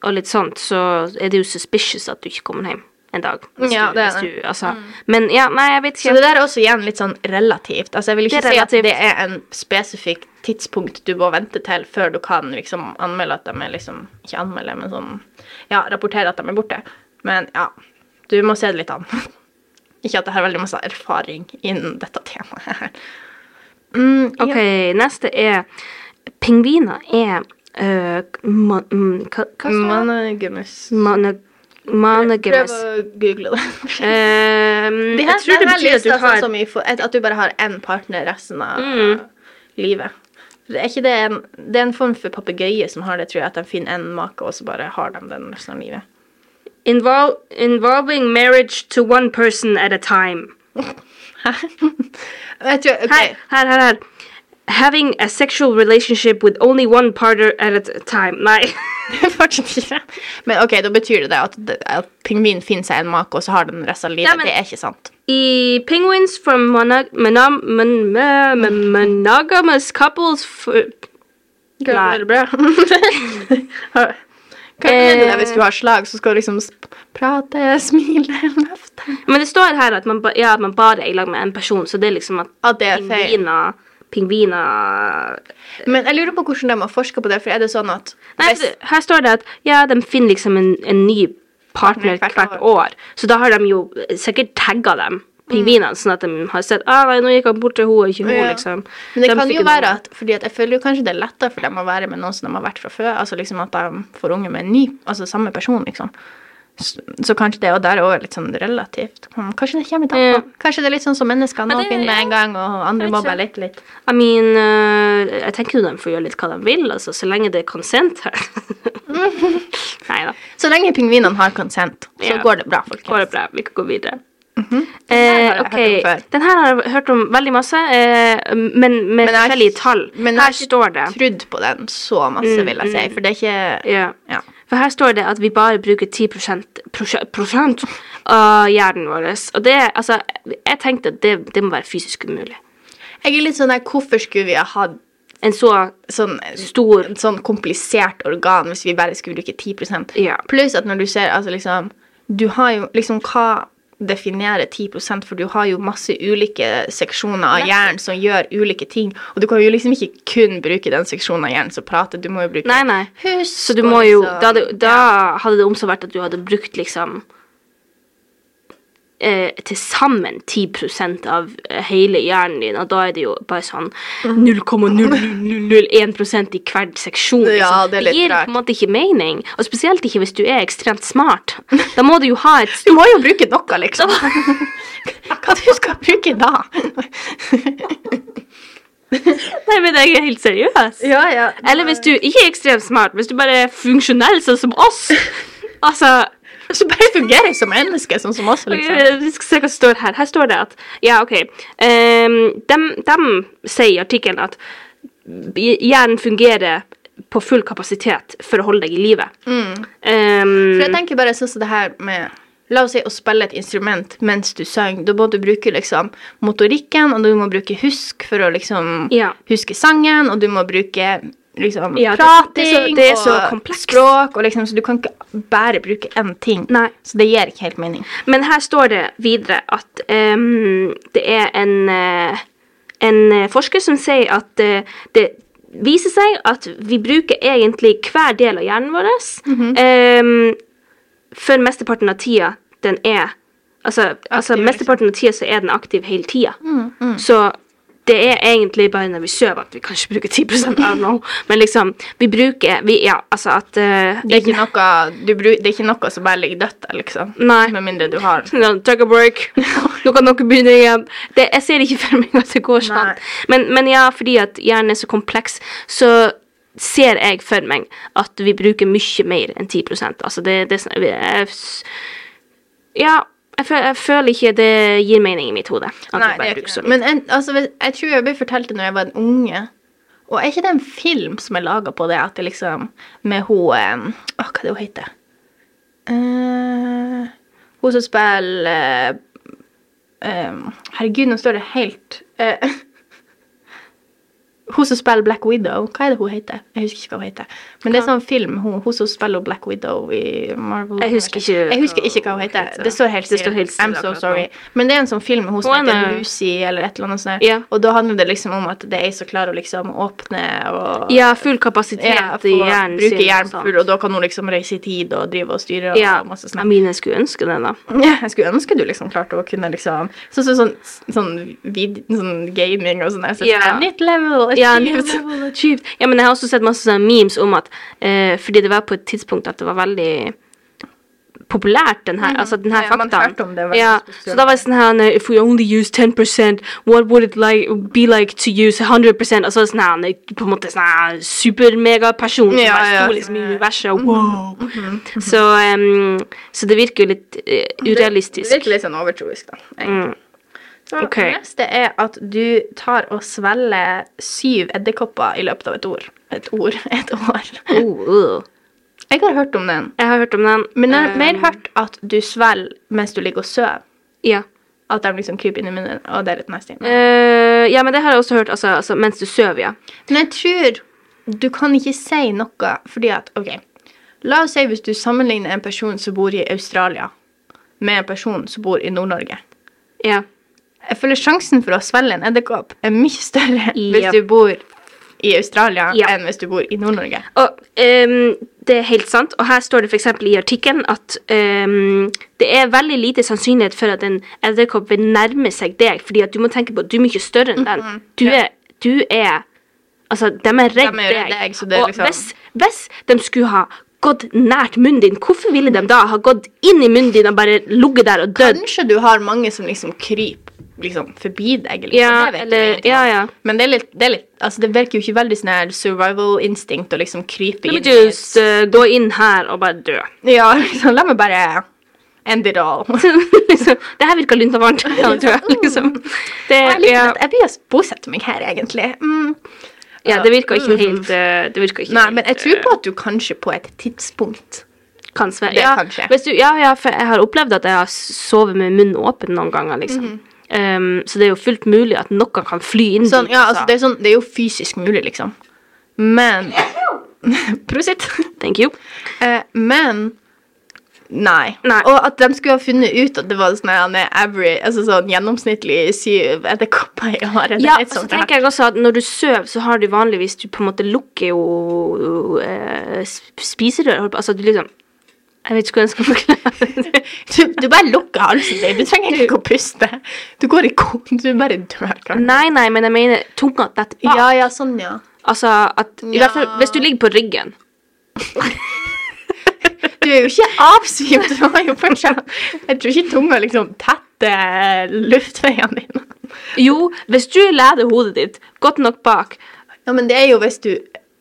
[SPEAKER 2] og litt sånt, så er det jo suspicious at du ikke kommer hjem en dag. Hvis
[SPEAKER 3] Ja,
[SPEAKER 2] du,
[SPEAKER 3] det er
[SPEAKER 2] hvis
[SPEAKER 3] det. Mm.
[SPEAKER 2] Du, altså. Men ja, nei, jeg vet
[SPEAKER 3] Så
[SPEAKER 2] ikke.
[SPEAKER 3] det der er også igjen litt sånn relativt. Altså, jeg vil ikke
[SPEAKER 2] Det er
[SPEAKER 3] si at
[SPEAKER 2] relativt.
[SPEAKER 3] det er en spesifikk tidspunkt du må vente til før du kan liksom anmelde at de er liksom Ikke anmelde, men sånn Ja, rapportere at de er borte. Men ja, du må se det litt an. ikke at jeg har veldig masse erfaring innen dette temaet her. Mm,
[SPEAKER 2] Ok,
[SPEAKER 3] ja.
[SPEAKER 2] neste er Pingviner er øh, ma, mm, Hva, hva står det?
[SPEAKER 3] Mannegumus.
[SPEAKER 2] Mane- Manegemes.
[SPEAKER 3] Prøv å google det.
[SPEAKER 2] Øhm,
[SPEAKER 3] Det her,
[SPEAKER 2] jeg tror det
[SPEAKER 3] den
[SPEAKER 2] betyr
[SPEAKER 3] her
[SPEAKER 2] at du
[SPEAKER 3] lista er sånn
[SPEAKER 2] har
[SPEAKER 3] som i for- at- At du bare har én partner resten av
[SPEAKER 2] Mm.
[SPEAKER 3] livet. For Det er, ikke det, en, det er en form for papegøye som har det, tror jeg. At de finner en make, og så bare har de den resten av livet.
[SPEAKER 2] Invol involving marriage to one person at a time.
[SPEAKER 3] Hæ? Jeg tror, ok.
[SPEAKER 2] Her, her, her, her. Having a sexual relationship with only one partner at a t- time. Nei.
[SPEAKER 3] Fortsatt ikke. Men ok, da betyr det det at, det- at pingvinen finner seg en make, og så har den resten av livet.
[SPEAKER 2] Ja, men-
[SPEAKER 3] det er ikke sant.
[SPEAKER 2] I penguins from monog monom mon mo- mon- monogamous couples f- Nei.
[SPEAKER 3] Går det bra? Har- Hva mener du hvis du har slag, så skal du liksom sp- prate, smile, løfte
[SPEAKER 2] Men det står her at man, ba ja, at man bare er i lag med en person, så det er liksom at
[SPEAKER 3] At det er feil.
[SPEAKER 2] pingviner Pingviner
[SPEAKER 3] Men jeg lurer på hvordan de har forska på det, for er det sånn at
[SPEAKER 2] Nei, for
[SPEAKER 3] hvis,
[SPEAKER 2] det- her står det at ja, de finner liksom en, en ny partner
[SPEAKER 3] Partner hvert Mm.
[SPEAKER 2] hvert, år. Så da har de jo eh, sikkert tagga dem, pingvinene, sånn at de har sett ah, nei, nå gikk han bort til henne, ikke hun,
[SPEAKER 3] Ja.
[SPEAKER 2] liksom.
[SPEAKER 3] Men det
[SPEAKER 2] De
[SPEAKER 3] kan
[SPEAKER 2] fikk
[SPEAKER 3] jo være at Fordi at jeg føler jo kanskje det er lettere for dem å være med noen som de har vært fra før. Altså liksom at de får unge med en ny, altså samme person, liksom. Så, så kanskje det og der er også litt sånn relativt. Hmm, Kanskje det kommer litt an på. Kanskje det er litt sånn som mennesker.
[SPEAKER 2] Men
[SPEAKER 3] Noen
[SPEAKER 2] det-
[SPEAKER 3] finner med en gang, og andre
[SPEAKER 2] Jeg
[SPEAKER 3] må
[SPEAKER 2] vet
[SPEAKER 3] bare lete litt.
[SPEAKER 2] I mean, eh, jeg tenker jo de får gjøre litt hva de vil, altså, så lenge det er konsent her.
[SPEAKER 3] Mm.
[SPEAKER 2] nei da.
[SPEAKER 3] Så lenge pingvinene har konsent, så
[SPEAKER 2] Ja.
[SPEAKER 3] går det bra, folkens.
[SPEAKER 2] Går det bra. Vi kan gå videre.
[SPEAKER 3] Mhm. Den her
[SPEAKER 2] Eh,
[SPEAKER 3] har jeg
[SPEAKER 2] ok,
[SPEAKER 3] hørt om før.
[SPEAKER 2] Den her har jeg hørt om veldig masse, eh, men med
[SPEAKER 3] Men jeg-
[SPEAKER 2] forskjellige tall.
[SPEAKER 3] men jeg har
[SPEAKER 2] her
[SPEAKER 3] ikke
[SPEAKER 2] står det Mm,
[SPEAKER 3] Trudd på den så masse, vil jeg si. For det er ikke
[SPEAKER 2] Ja.
[SPEAKER 3] Ja.
[SPEAKER 2] For her står det at vi bare bruker 10 prosje- prosent av hjernen vår. Og det, altså, jeg tenkte at det, det må være fysisk umulig.
[SPEAKER 3] Jeg er litt sånn der, hvorfor skulle vi ha hatt
[SPEAKER 2] En så
[SPEAKER 3] sånn
[SPEAKER 2] Stor.
[SPEAKER 3] en sånn komplisert organ hvis vi bare skulle bruke 10
[SPEAKER 2] Ja.
[SPEAKER 3] Pluss at når du ser altså liksom Du har jo liksom hva definerer 10 for du har jo masse ulike seksjoner av hjernen som gjør ulike ting, og du kan jo liksom ikke kun bruke den seksjonen av hjernen som prater, du må jo bruke
[SPEAKER 2] Nei, nei.
[SPEAKER 3] husk
[SPEAKER 2] Så du
[SPEAKER 3] og
[SPEAKER 2] må jo
[SPEAKER 3] liksom-
[SPEAKER 2] Da, hadde- da hadde det omså vært at du hadde brukt liksom eh, til sammen 10 av eh, hele hjernen din, og da er det jo bare sånn
[SPEAKER 3] Mhm.
[SPEAKER 2] 0,0001 i hver seksjon. Liksom.
[SPEAKER 3] Ja, det er litt
[SPEAKER 2] gir
[SPEAKER 3] rart.
[SPEAKER 2] på en måte ikke mening, og spesielt ikke hvis du er ekstremt smart. Da må du jo ha et
[SPEAKER 3] Du må jo bruke noe, liksom. Hva du skal bruke da?
[SPEAKER 2] Nei, men jeg er helt seriøs.
[SPEAKER 3] ja, ja.
[SPEAKER 2] Eller hvis du ikke er ekstremt smart, hvis du bare er funksjonell sånn som oss. Altså,
[SPEAKER 3] Så bare fungerer som menneske, sånn som oss, liksom.
[SPEAKER 2] eh, vi skal se hva som står her. Her står det at Ja, OK. ehm, dem, dem sier i artikkelen at hjernen fungerer på full kapasitet for å holde deg i live. Ehm,
[SPEAKER 3] Mm. For jeg tenker bare sånn som det her med La oss si å spille et instrument mens du synger. Da må du bruke liksom motorikken, og du må bruke husk for å liksom
[SPEAKER 2] Ja.
[SPEAKER 3] huske sangen, og du må bruke liksom
[SPEAKER 2] Ja, det- det er så-
[SPEAKER 3] prating
[SPEAKER 2] det er så
[SPEAKER 3] og
[SPEAKER 2] komplekst.
[SPEAKER 3] språk, og liksom, så du kan ikke bare bruke én ting.
[SPEAKER 2] Nei.
[SPEAKER 3] Så det gir ikke helt mening.
[SPEAKER 2] Men her står det videre at ehm, det er en, eh, en eh, forsker som sier at eh, det viser seg at vi bruker egentlig hver del av
[SPEAKER 3] Mhm.
[SPEAKER 2] hjernen vår ehm, for mesteparten av tida den er Altså, altså
[SPEAKER 3] Aktiv, liksom.
[SPEAKER 2] mesteparten av tida så er den aktiv hele tida.
[SPEAKER 3] Mm, mm.
[SPEAKER 2] Så det er egentlig bare når vi sover at vi kanskje bruker 10 av noe. Men liksom, vi bruker vi, Ja, altså at eh,
[SPEAKER 3] Det er ikke noe, du bru, det er ikke noe som bare ligger dødt der, liksom.
[SPEAKER 2] Nei.
[SPEAKER 3] Med mindre du har
[SPEAKER 2] Ja, Take a break. Nå kan dere begynne igjen. Det, jeg ser ikke for meg at det går sånn.
[SPEAKER 3] Nei.
[SPEAKER 2] Men, men ja, fordi at hjernen er så kompleks, så ser jeg for meg at vi bruker mye mer enn 10 Altså det, det er sånn- jeg, s- Ja, jeg føler, jeg føler ikke det gir mening i mitt hode. At
[SPEAKER 3] Nei,
[SPEAKER 2] vi
[SPEAKER 3] det
[SPEAKER 2] bare
[SPEAKER 3] er
[SPEAKER 2] bruker
[SPEAKER 3] ikke
[SPEAKER 2] så
[SPEAKER 3] det.
[SPEAKER 2] mye.
[SPEAKER 3] Men en, altså, hvis- jeg tror jeg ble fortalt det når jeg var en unge. Og er ikke det en film som er laga på det, at det liksom Med hun em, Å, hva er det hun heter? Eh, hun som spiller eh, em, Herregud, nå står det helt eh, Hun som spiller Black Widow, hva er det hun heter? Jeg husker ikke hva hun heter. Men det er sånn film, hun, hun som spiller Black Widow i Marvel.
[SPEAKER 2] Jeg husker ikke
[SPEAKER 3] Jeg husker ikke hva hun heter. Det står helt
[SPEAKER 2] Det står
[SPEAKER 3] stille.
[SPEAKER 2] helt stille
[SPEAKER 3] I'm so
[SPEAKER 2] akkurat nå.
[SPEAKER 3] sorry. Men det er en sånn film med hun som
[SPEAKER 2] Hun er
[SPEAKER 3] heter
[SPEAKER 2] med-
[SPEAKER 3] Lucy eller et eller annet sånt.
[SPEAKER 2] Ja.
[SPEAKER 3] Og da handler det liksom om at det er ei som klarer å liksom åpne og
[SPEAKER 2] Ja, full kapasitet
[SPEAKER 3] Ja, få
[SPEAKER 2] i hjernen
[SPEAKER 3] bruke
[SPEAKER 2] sin og
[SPEAKER 3] hjernen
[SPEAKER 2] sånt.
[SPEAKER 3] full, og da kan hun liksom reise i tid og drive og styre og
[SPEAKER 2] Ja,
[SPEAKER 3] masse
[SPEAKER 2] ja,
[SPEAKER 3] sånt.
[SPEAKER 2] mine skulle ønske det, da.
[SPEAKER 3] Ja, jeg skulle ønske du liksom klarte å kunne liksom Sånn så, sånn, sånn, vid, sånn gaming og sånn der. Så,
[SPEAKER 2] Ja.
[SPEAKER 3] Nytt level!
[SPEAKER 2] Ja,
[SPEAKER 3] achieved.
[SPEAKER 2] nytt level achieved. ja, men jeg har også sett masse sånne memes om at eh, Fordi det var på et tidspunkt at det var veldig populært, den her, altså den her
[SPEAKER 3] Mm. Ja, man
[SPEAKER 2] faktaen.
[SPEAKER 3] hørte om det, veldig
[SPEAKER 2] ja,
[SPEAKER 3] spesielt.
[SPEAKER 2] så da var det sånn her nei, If we only use 10 what would it like, be like to use 100 Og så var det sånn her nei, på en måte sånn her supermegaperson som
[SPEAKER 3] Ja,
[SPEAKER 2] bare
[SPEAKER 3] ja. Mm.
[SPEAKER 2] sto liksom i universet og wow. så, em, så det virker jo litt eh, urealistisk.
[SPEAKER 3] Det virker litt sånn overtroisk, da. egentlig.
[SPEAKER 2] Mm.
[SPEAKER 3] Så
[SPEAKER 2] Ok.
[SPEAKER 3] neste er at du tar og svelger syv edderkopper i løpet av et år. Et år. Et år.
[SPEAKER 2] Oh, uh.
[SPEAKER 3] Jeg har hørt om den.
[SPEAKER 2] Jeg har hørt om den.
[SPEAKER 3] Men jeg har
[SPEAKER 2] Eh,
[SPEAKER 3] mer hørt at du svelger mens du ligger og sover.
[SPEAKER 2] Ja.
[SPEAKER 3] At de liksom kryper inn i munnen, og det er litt nasty. Men
[SPEAKER 2] Eh, ja, men det har jeg også hørt, altså, altså mens du sover, ja.
[SPEAKER 3] jeg tror du kan ikke si noe fordi at OK. La oss si hvis du sammenligner en person som bor i Australia, med en person som bor i Nord-Norge.
[SPEAKER 2] Ja.
[SPEAKER 3] Jeg føler sjansen for å svelge en edderkopp er mye større
[SPEAKER 2] Ja.
[SPEAKER 3] hvis du bor i Australia
[SPEAKER 2] Ja.
[SPEAKER 3] enn hvis du bor i Nord-Norge.
[SPEAKER 2] Og ehm, det er helt sant, og her står det f.eks. i artikkelen at ehm, det er veldig lite sannsynlighet for at en edderkopp vil nærme seg deg, fordi at du må tenke på at du er mye større enn den. Du er, du er Altså, de er redd
[SPEAKER 3] Mhm. De er redd
[SPEAKER 2] deg.
[SPEAKER 3] deg, så det er
[SPEAKER 2] og
[SPEAKER 3] liksom-
[SPEAKER 2] hvis, hvis de skulle ha gått nært munnen din, hvorfor ville de da ha gått inn i munnen din og bare ligget der og dødd?
[SPEAKER 3] Kanskje du har mange som liksom kryper liksom, forbi deg. Liksom.
[SPEAKER 2] Ja,
[SPEAKER 3] Det vet vi
[SPEAKER 2] eller-
[SPEAKER 3] egentlig ikke.
[SPEAKER 2] ja, ja.
[SPEAKER 3] Men det, er litt, det, er litt, altså, det virker jo ikke veldig sånn her survival instinct å liksom krype
[SPEAKER 2] Let
[SPEAKER 3] inn
[SPEAKER 2] me just eh, gå inn her og bare dø.
[SPEAKER 3] Ja, liksom, la meg bare end it all.
[SPEAKER 2] liksom, det her virker lunt og varmt. Ja, tror jeg, liksom. det,
[SPEAKER 3] Mm. Jeg, liker
[SPEAKER 2] ja,
[SPEAKER 3] at jeg blir å bosette meg her, egentlig. Mm.
[SPEAKER 2] ja, det virker ikke helt eh, Det virker ikke
[SPEAKER 3] Nei,
[SPEAKER 2] helt,
[SPEAKER 3] men jeg tror på at du kanskje på et tidspunkt
[SPEAKER 2] eh, kan svære.
[SPEAKER 3] det
[SPEAKER 2] Ja,
[SPEAKER 3] kan skje.
[SPEAKER 2] Hvis du, ja, ja, for jeg har opplevd at jeg har sovet med munnen åpen noen ganger. liksom.
[SPEAKER 3] Mhm.
[SPEAKER 2] um, så det er jo fullt mulig at noe kan fly inn
[SPEAKER 3] sånn,
[SPEAKER 2] dit,
[SPEAKER 3] ja,
[SPEAKER 2] altså.
[SPEAKER 3] altså, det, er sånn, det er jo fysisk mulig, liksom. Men Prosit.
[SPEAKER 2] Thank you.
[SPEAKER 3] Eh, men nei.
[SPEAKER 2] Nei.
[SPEAKER 3] Og at de skulle ha funnet ut at det var sånn her, med average, altså sånn gjennomsnittlig syv edderkopper i året.
[SPEAKER 2] Ja, og så tenker jeg også at Når du sover, så har du vanligvis Du på en måte lukker jo eh, sp- spiserør. holdt på- Altså, du liksom Jeg vet ikke hvordan jeg skal forklare det.
[SPEAKER 3] du, du bare lukker halsen din. Du trenger ikke å puste. Du går i kon, du bare dør. kanskje.
[SPEAKER 2] Nei, nei, men jeg mener tunga detter bak.
[SPEAKER 3] Ja, ja, sånn, ja.
[SPEAKER 2] Altså at I hvert fall
[SPEAKER 3] Ja.
[SPEAKER 2] hvis du ligger på ryggen.
[SPEAKER 3] Du er jo ikke avsvimt. Du har jo fortsatt Jeg tror ikke tunga liksom tetter luftveiene dine.
[SPEAKER 2] Jo, hvis du leder hodet ditt godt nok bak
[SPEAKER 3] Ja, men det er jo hvis du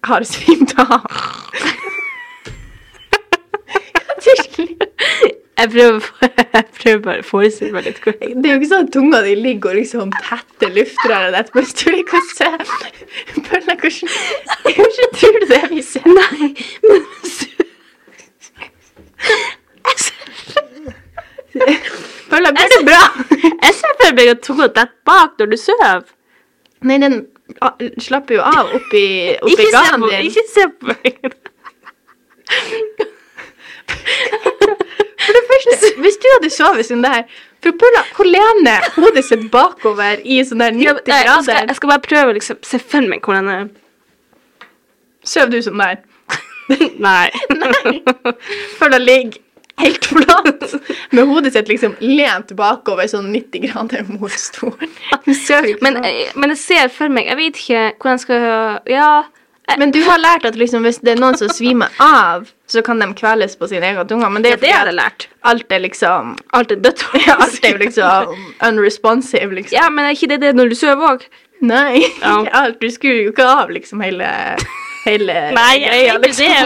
[SPEAKER 3] har svimt av.
[SPEAKER 2] Jeg prøver, jeg prøver bare å forestille meg litt hvordan
[SPEAKER 3] Det er jo ikke sånn at tunga di ligger og liksom tetter luftrøret ditt mens du ligger og ser. Bølla, hvordan hvordan tror du det vi ser?
[SPEAKER 2] Nei, men hvis du Jeg ser-
[SPEAKER 3] Bølla, blir det bra?
[SPEAKER 2] jeg ser for meg at tunga detter bak når du sover.
[SPEAKER 3] Nei, den ah, slapper jo av oppi, oppi
[SPEAKER 2] Ikke se
[SPEAKER 3] ganen
[SPEAKER 2] på
[SPEAKER 3] din.
[SPEAKER 2] Ikke se på meg.
[SPEAKER 3] For det første, hvis du hadde sovet sånn der For Bølla, hun lener hodet sitt bakover i sånn der
[SPEAKER 2] Ja,
[SPEAKER 3] 90
[SPEAKER 2] men, nei, jeg, skal,
[SPEAKER 3] grader.
[SPEAKER 2] jeg skal bare prøve å liksom, se for meg hvordan jeg
[SPEAKER 3] Sover du sånn der?
[SPEAKER 2] Nei.
[SPEAKER 3] Nei. Bølla ligger helt flat, med hodet sitt liksom lent bakover sånn 90 grader mot stolen. Hun ser jo ikke
[SPEAKER 2] Men,
[SPEAKER 3] sånn.
[SPEAKER 2] eh, men jeg ser for meg Jeg vet ikke hvordan jeg skal Ja. Jeg,
[SPEAKER 3] Men du har lært at liksom, hvis det er noen som svimer av, så kan de kveles på sine egne tunger. Men det
[SPEAKER 2] ja,
[SPEAKER 3] er
[SPEAKER 2] det har
[SPEAKER 3] fordi
[SPEAKER 2] jeg lært.
[SPEAKER 3] at alt er liksom
[SPEAKER 2] Alt er dødt.
[SPEAKER 3] ja, Alt er jo liksom unresponsive, liksom.
[SPEAKER 2] Ja, men er ikke det det når du sover òg?
[SPEAKER 3] Nei,
[SPEAKER 2] Ja.
[SPEAKER 3] ikke alt. Du skrur jo ikke av liksom hele, hele greia, liksom. Jeg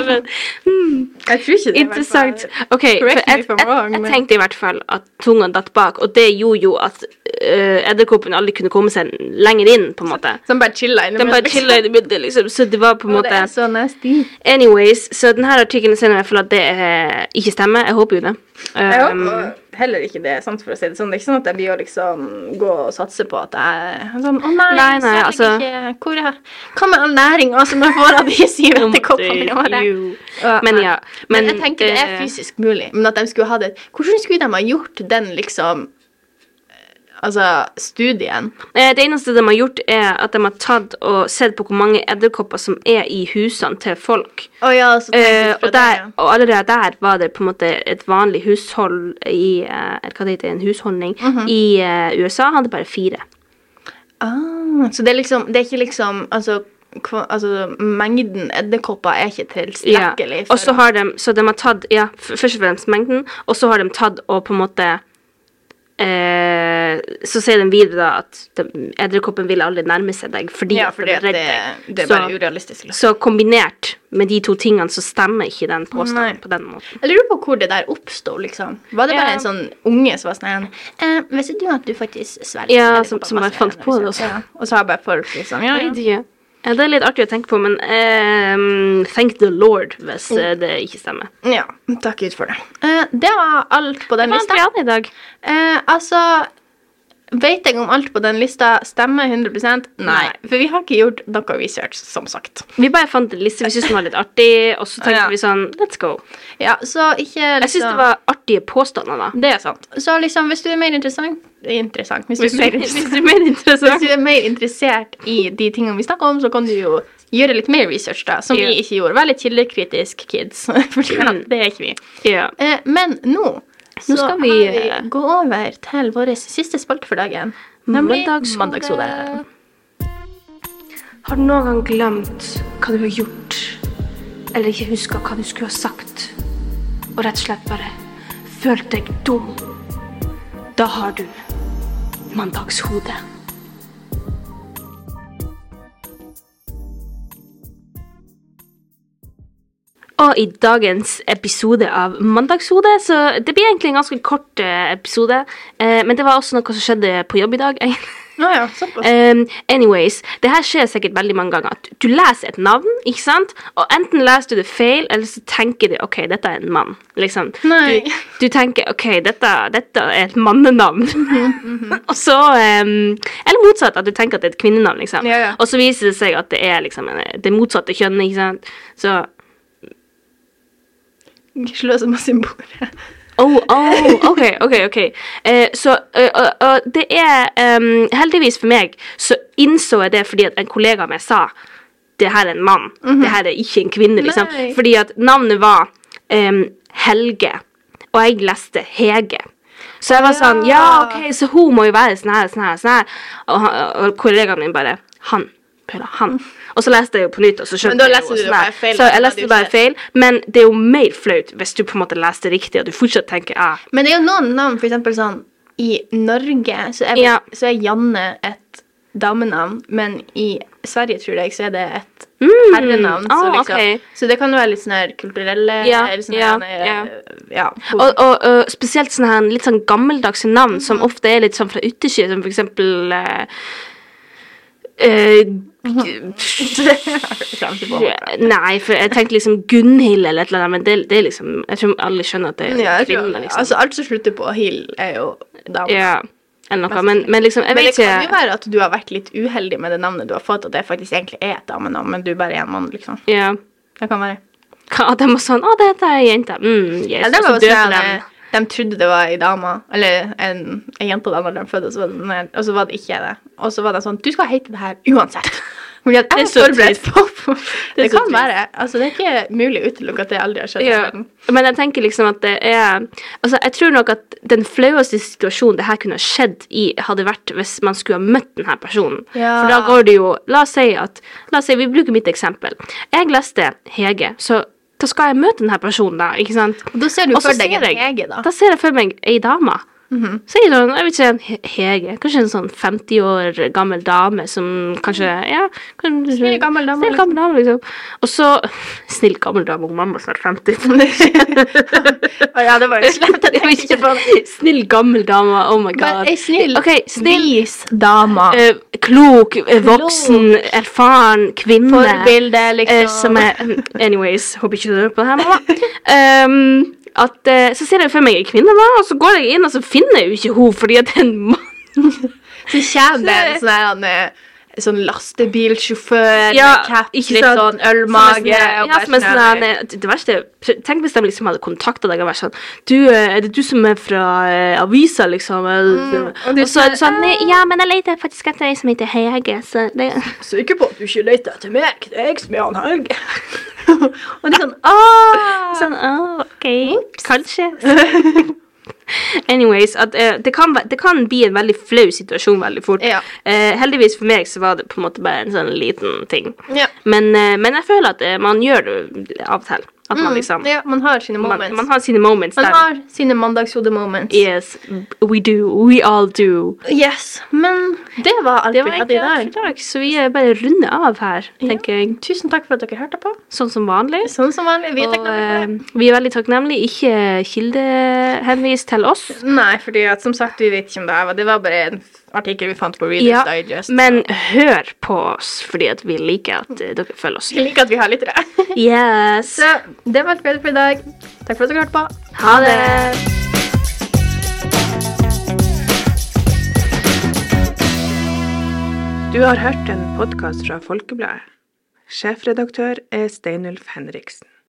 [SPEAKER 3] tror ikke det. i hvert fall.
[SPEAKER 2] Hmm, Interessant. OK, for jeg,
[SPEAKER 3] Correct me
[SPEAKER 2] jeg,
[SPEAKER 3] if I'm wrong,
[SPEAKER 2] jeg
[SPEAKER 3] men-
[SPEAKER 2] tenkte i hvert fall at tunga datt bak, og det gjorde jo at eh, edderkoppen aldri kunne komme seg lenger inn, på en måte.
[SPEAKER 3] Så de bare chiller
[SPEAKER 2] Den
[SPEAKER 3] innimellom.
[SPEAKER 2] bare chilla i det midte, liksom, så det var på en
[SPEAKER 3] Og det
[SPEAKER 2] måte
[SPEAKER 3] er så nasty.
[SPEAKER 2] Anyways, så denne artikkelen sier i hvert fall at det eh, ikke stemmer. Jeg håper jo det.
[SPEAKER 3] Jeg
[SPEAKER 2] Um,
[SPEAKER 3] håper heller ikke det, sant, for å si det sånn. Det er ikke sånn at jeg blir å liksom gå og satse på at jeg sånn, Å nei,
[SPEAKER 2] Nei, nei,
[SPEAKER 3] så
[SPEAKER 2] altså-
[SPEAKER 3] er jeg ikke Hvor er Hva med all næringa som jeg får av de syv
[SPEAKER 2] om
[SPEAKER 3] etterkoppene i
[SPEAKER 2] det-
[SPEAKER 3] året?
[SPEAKER 2] jo.
[SPEAKER 3] Ja,
[SPEAKER 2] Men
[SPEAKER 3] nei.
[SPEAKER 2] ja.
[SPEAKER 3] Men, jeg tenker det er
[SPEAKER 2] eh,
[SPEAKER 3] fysisk mulig. Men at de skulle ha det Hvordan skulle de ha gjort den liksom Altså studien?
[SPEAKER 2] eh, Det eneste de har gjort, er at de har tatt og sett på hvor mange edderkopper som er i husene til folk.
[SPEAKER 3] Å ja, så tenker
[SPEAKER 2] Eh,
[SPEAKER 3] jeg
[SPEAKER 2] og,
[SPEAKER 3] fra det,
[SPEAKER 2] der,
[SPEAKER 3] ja.
[SPEAKER 2] og allerede der var det på en måte et vanlig hushold i eh, eller Hva det heter en husholdning
[SPEAKER 3] Mhm.
[SPEAKER 2] i eh, USA. Hadde bare fire.
[SPEAKER 3] Ah, så det er liksom Det er ikke liksom Altså, kva, altså mengden edderkopper er ikke
[SPEAKER 2] Ja.
[SPEAKER 3] tilstrekkelig
[SPEAKER 2] Og så har de Så de har tatt Ja, f- først og fremst mengden, og så har de tatt og på en måte eh, så sier de videre da at de- edderkoppen vil aldri nærme seg deg fordi,
[SPEAKER 3] Ja,
[SPEAKER 2] at den
[SPEAKER 3] fordi
[SPEAKER 2] er
[SPEAKER 3] at det,
[SPEAKER 2] redd deg.
[SPEAKER 3] det er
[SPEAKER 2] Så-
[SPEAKER 3] bare urealistisk. Liksom.
[SPEAKER 2] Så kombinert med de to tingene, så stemmer ikke den påstanden
[SPEAKER 3] Nei.
[SPEAKER 2] på den måten.
[SPEAKER 3] Jeg lurer på hvor det der oppsto, liksom. Var det bare
[SPEAKER 2] Ja.
[SPEAKER 3] en sånn unge som var sånn eh, Visste du at du faktisk svelger
[SPEAKER 2] Ja,
[SPEAKER 3] edderkopper
[SPEAKER 2] som- som bare
[SPEAKER 3] masse
[SPEAKER 2] fant på det,
[SPEAKER 3] liksom?» Ja. Og så har bare folk liksom Ja,
[SPEAKER 2] Jeg
[SPEAKER 3] ja.
[SPEAKER 2] vet ikke. Ja, det er litt artig å tenke på, men ehm, thank the lord hvis
[SPEAKER 3] Mm.
[SPEAKER 2] eh, det ikke stemmer.
[SPEAKER 3] ja takk Gud for det. Eh, det var alt på den lista.
[SPEAKER 2] i dag.
[SPEAKER 3] Eh, altså Vet jeg om alt på den lista stemmer 100 Nei.
[SPEAKER 2] Nei.
[SPEAKER 3] For vi har ikke gjort noe research, som sagt.
[SPEAKER 2] Vi bare fant en liste vi syntes den var litt artig, og så tenkte
[SPEAKER 3] Ja.
[SPEAKER 2] vi sånn let's go.
[SPEAKER 3] Ja, så ikke liksom-
[SPEAKER 2] Jeg syns det var artige påstander, da.
[SPEAKER 3] Det er sant. Så liksom, hvis du er mer interessant Interessant. Hvis du,
[SPEAKER 2] Hvis
[SPEAKER 3] er
[SPEAKER 2] du,
[SPEAKER 3] mer
[SPEAKER 2] hvis
[SPEAKER 3] interessant.
[SPEAKER 2] du er mer
[SPEAKER 3] Hvis
[SPEAKER 2] interessant.
[SPEAKER 3] du er mer interessert i de tingene vi snakker om, så kan du jo gjøre litt mer research, da, som
[SPEAKER 2] Ja.
[SPEAKER 3] vi ikke gjorde. Vær litt kildekritisk, kids. For det er ikke vi.
[SPEAKER 2] Ja.
[SPEAKER 3] Eh, men nå, så
[SPEAKER 2] skal
[SPEAKER 3] kan
[SPEAKER 2] vi- eh,
[SPEAKER 3] vi gå over til vår siste spalte for dagen. Nemlig
[SPEAKER 2] Mandagshode.
[SPEAKER 3] Mandagshode.
[SPEAKER 2] Eh, Har du noen gang glemt hva du har gjort, eller ikke huska hva du skulle ha sagt, og rett og slett bare følt deg dum? Da har du mandagshode. Og i dagens episode av Mandagshodet, så det blir egentlig en ganske kort eh, episode, eh, men det var også noe som skjedde på jobb i dag.
[SPEAKER 3] Å ja, såpass.
[SPEAKER 2] Um, anyways, det her skjer sikkert veldig mange ganger. At du leser et navn, ikke sant? Og enten leser du det feil, eller så tenker du OK, dette er en mann. Liksom.
[SPEAKER 3] Nei.
[SPEAKER 2] Du, du tenker OK, dette, dette er et mannenavn.
[SPEAKER 3] Mhm,
[SPEAKER 2] og så um, Eller motsatt, at du tenker at det er et kvinnenavn, liksom.
[SPEAKER 3] Ja, ja.
[SPEAKER 2] Og så viser det seg at det er liksom en- det motsatte kjønnet, ikke sant. Så
[SPEAKER 3] Ikke slå så masse i bordet.
[SPEAKER 2] Oh, oh, ok, ok, ok. Eh, så eh, og- og det er em, Heldigvis for meg så innså jeg det fordi at en kollega av meg sa det her er en mann. Det her er ikke en kvinne. liksom.
[SPEAKER 3] Nei.
[SPEAKER 2] Fordi at navnet var em, Helge, og jeg leste Hege. Så jeg var sånn Ja, ok, så hun må jo være sånn her, sånn her, sånn her. Og, han- og kollegaen min bare Han. Pøla, han. Og så leste jeg jo på nytt, og så skjønte
[SPEAKER 3] Men da
[SPEAKER 2] jeg jo
[SPEAKER 3] leste du det
[SPEAKER 2] sånn her.
[SPEAKER 3] bare
[SPEAKER 2] Så
[SPEAKER 3] feil, det
[SPEAKER 2] jeg
[SPEAKER 3] hadde
[SPEAKER 2] leste
[SPEAKER 3] jo
[SPEAKER 2] det bare
[SPEAKER 3] ikke-
[SPEAKER 2] feil, men det er jo mer flaut hvis du på en måte leste riktig, og du fortsatt tenker ah,
[SPEAKER 3] Men det er jo noen navn, for eksempel sånn I Norge så er,
[SPEAKER 2] Ja.
[SPEAKER 3] så er Janne et damenavn, men i Sverige, tror jeg, så er det et herrenavn. så,
[SPEAKER 2] ah,
[SPEAKER 3] liksom,
[SPEAKER 2] ok.
[SPEAKER 3] så det kan jo være litt sånn her kulturelle
[SPEAKER 2] Ja,
[SPEAKER 3] eller sånn
[SPEAKER 2] ja,
[SPEAKER 3] her,
[SPEAKER 2] ja.
[SPEAKER 3] ja,
[SPEAKER 2] Og, og, og spesielt sånne her litt sånn gammeldagse navn
[SPEAKER 3] Mm.
[SPEAKER 2] som ofte er litt sånn fra yttersida, som for eksempel eh, eh, Nei, for jeg tenkte liksom Gunhild eller et eller annet, men det, det er liksom Jeg tror alle skjønner at det
[SPEAKER 3] ja,
[SPEAKER 2] er
[SPEAKER 3] jeg tror,
[SPEAKER 2] kvinner, liksom.
[SPEAKER 3] altså, alt som slutter på hill, er jo dame.
[SPEAKER 2] Ja, eller noe. Men, men liksom, jeg
[SPEAKER 3] Men det
[SPEAKER 2] vet
[SPEAKER 3] kan jo
[SPEAKER 2] ikke.
[SPEAKER 3] være at du har vært litt uheldig med det navnet du har fått, at det faktisk egentlig er et damenavn, men du bare er en mann, liksom.
[SPEAKER 2] Ja.
[SPEAKER 3] Det kan være.
[SPEAKER 2] Hva- At de var sånn Å, dette er ei jente. Mm, yes.
[SPEAKER 3] Ja, det
[SPEAKER 2] Og
[SPEAKER 3] var
[SPEAKER 2] så
[SPEAKER 3] jo
[SPEAKER 2] døde
[SPEAKER 3] sånn,
[SPEAKER 2] de.
[SPEAKER 3] eh, de trodde det var ei dame, eller en, sånn, en jente da når de fødte, og så var det, nei, og så var det ikke det. Og så var det sånn Du skal hete det her uansett. Fordi at
[SPEAKER 2] Det er
[SPEAKER 3] jeg var
[SPEAKER 2] så
[SPEAKER 3] forberedt
[SPEAKER 2] trist.
[SPEAKER 3] på på-
[SPEAKER 2] Det er
[SPEAKER 3] Det
[SPEAKER 2] så
[SPEAKER 3] kan være. Altså, det er ikke mulig å utelukke at det aldri har skjedd. i
[SPEAKER 2] Ja,
[SPEAKER 3] verden.
[SPEAKER 2] men jeg tenker liksom at det er Altså, jeg tror nok at den flaueste situasjonen det her kunne ha skjedd i, hadde vært hvis man skulle ha møtt denne personen.
[SPEAKER 3] Ja.
[SPEAKER 2] For da går det jo La oss si at La oss si, vi bruker mitt eksempel. Jeg leste Hege, så da skal jeg møte denne personen, da, ikke sant?
[SPEAKER 3] Og da ser du
[SPEAKER 2] Og så
[SPEAKER 3] for deg
[SPEAKER 2] ser
[SPEAKER 3] en
[SPEAKER 2] jeg-
[SPEAKER 3] Hege, da. Mhm.
[SPEAKER 2] Da ser jeg for meg ei dame. Sier noen, jeg vet ikke, en He- Hege, kanskje en sånn 50 år gammel dame som kanskje Ja, kanskje,
[SPEAKER 3] Mhm. Snill gammel dame,
[SPEAKER 2] Snill gammel dame, liksom. Og så Snill gammel dame, hun mamma er snart 50.
[SPEAKER 3] Å ja, det var jo slemt. Jeg
[SPEAKER 2] Jeg
[SPEAKER 3] tenkte
[SPEAKER 2] vet
[SPEAKER 3] ikke på det.
[SPEAKER 2] ikke. Snill gammel dame, oh my god.
[SPEAKER 3] Men ei snill,
[SPEAKER 2] Ok, snill
[SPEAKER 3] vis dame.
[SPEAKER 2] eh, klok, eh, voksen, erfaren kvinne.
[SPEAKER 3] Forbilde, liksom.
[SPEAKER 2] Eh, som er Anyways, håper ikke du hører på det her, mamma. Ehm, at, eh, så ser jeg for meg en kvinne, da, og så går jeg inn, og så finner jeg jo ikke henne fordi at det er en mann.
[SPEAKER 3] Så kommer det en sånn her han er Sånn lastebilsjåfør med caps, sånn,
[SPEAKER 2] som
[SPEAKER 3] ølmage
[SPEAKER 2] er sånn- Ja,
[SPEAKER 3] og bare
[SPEAKER 2] som er
[SPEAKER 3] sånn
[SPEAKER 2] sånn
[SPEAKER 3] her-
[SPEAKER 2] her, det verste Tenk hvis de liksom hadde kontakta deg og vært sånn Du, eh, er det du som er fra eh, avisa, liksom?
[SPEAKER 3] Mm, og
[SPEAKER 2] og,
[SPEAKER 3] du
[SPEAKER 2] så er
[SPEAKER 3] sier,
[SPEAKER 2] det sånn «Nei, Ja, men jeg leter faktisk etter ei som heter Hege, så det
[SPEAKER 3] Sikker på at du ikke leter etter meg? Det er jeg som er han Helge. og det er sånn Åh!
[SPEAKER 2] Sånn, «Å, ok, kanskje. Anyways, at, eh, det, kan, væ- det kan bli en veldig flau situasjon veldig fort.
[SPEAKER 3] Ja.
[SPEAKER 2] Eh, heldigvis for meg så var det på en måte bare en sånn liten ting.
[SPEAKER 3] Ja.
[SPEAKER 2] Men, eh, men jeg føler at eh, man gjør det av og til. At man liksom
[SPEAKER 3] Mm. ja, man har sine
[SPEAKER 2] man,
[SPEAKER 3] moments.
[SPEAKER 2] man har sine moments
[SPEAKER 3] Man
[SPEAKER 2] der.
[SPEAKER 3] har sine mandagshode-moments.
[SPEAKER 2] Yes, we do. We all do.
[SPEAKER 3] Yes, men det var alt
[SPEAKER 2] Det
[SPEAKER 3] vi
[SPEAKER 2] var
[SPEAKER 3] hadde
[SPEAKER 2] egentlig
[SPEAKER 3] i
[SPEAKER 2] alt
[SPEAKER 3] dag.
[SPEAKER 2] for i dag, så vi eh, bare runder av her, tenker jeg.
[SPEAKER 3] Tusen takk for at dere hørte på.
[SPEAKER 2] Sånn som vanlig.
[SPEAKER 3] Sånn som vanlig. Vi er
[SPEAKER 2] Og eh,
[SPEAKER 3] takknemlige.
[SPEAKER 2] vi er veldig takknemlige. Ikke kildehenvis til oss.
[SPEAKER 3] Nei, fordi at, som sagt, vi vet ikke om det her var Det var bare en f- artikkel vi fant på Readers
[SPEAKER 2] Ja,
[SPEAKER 3] Digest.
[SPEAKER 2] Men hør på oss, fordi at vi liker at eh, dere følger oss.
[SPEAKER 3] Jeg liker at vi har litt det.
[SPEAKER 2] Yes!
[SPEAKER 3] Så det var alt vi hadde for i dag. Takk for at dere hørte på.
[SPEAKER 2] Ha det!
[SPEAKER 1] Du har hørt en podkast fra Folkebladet. Sjefredaktør er Steinulf Henriksen.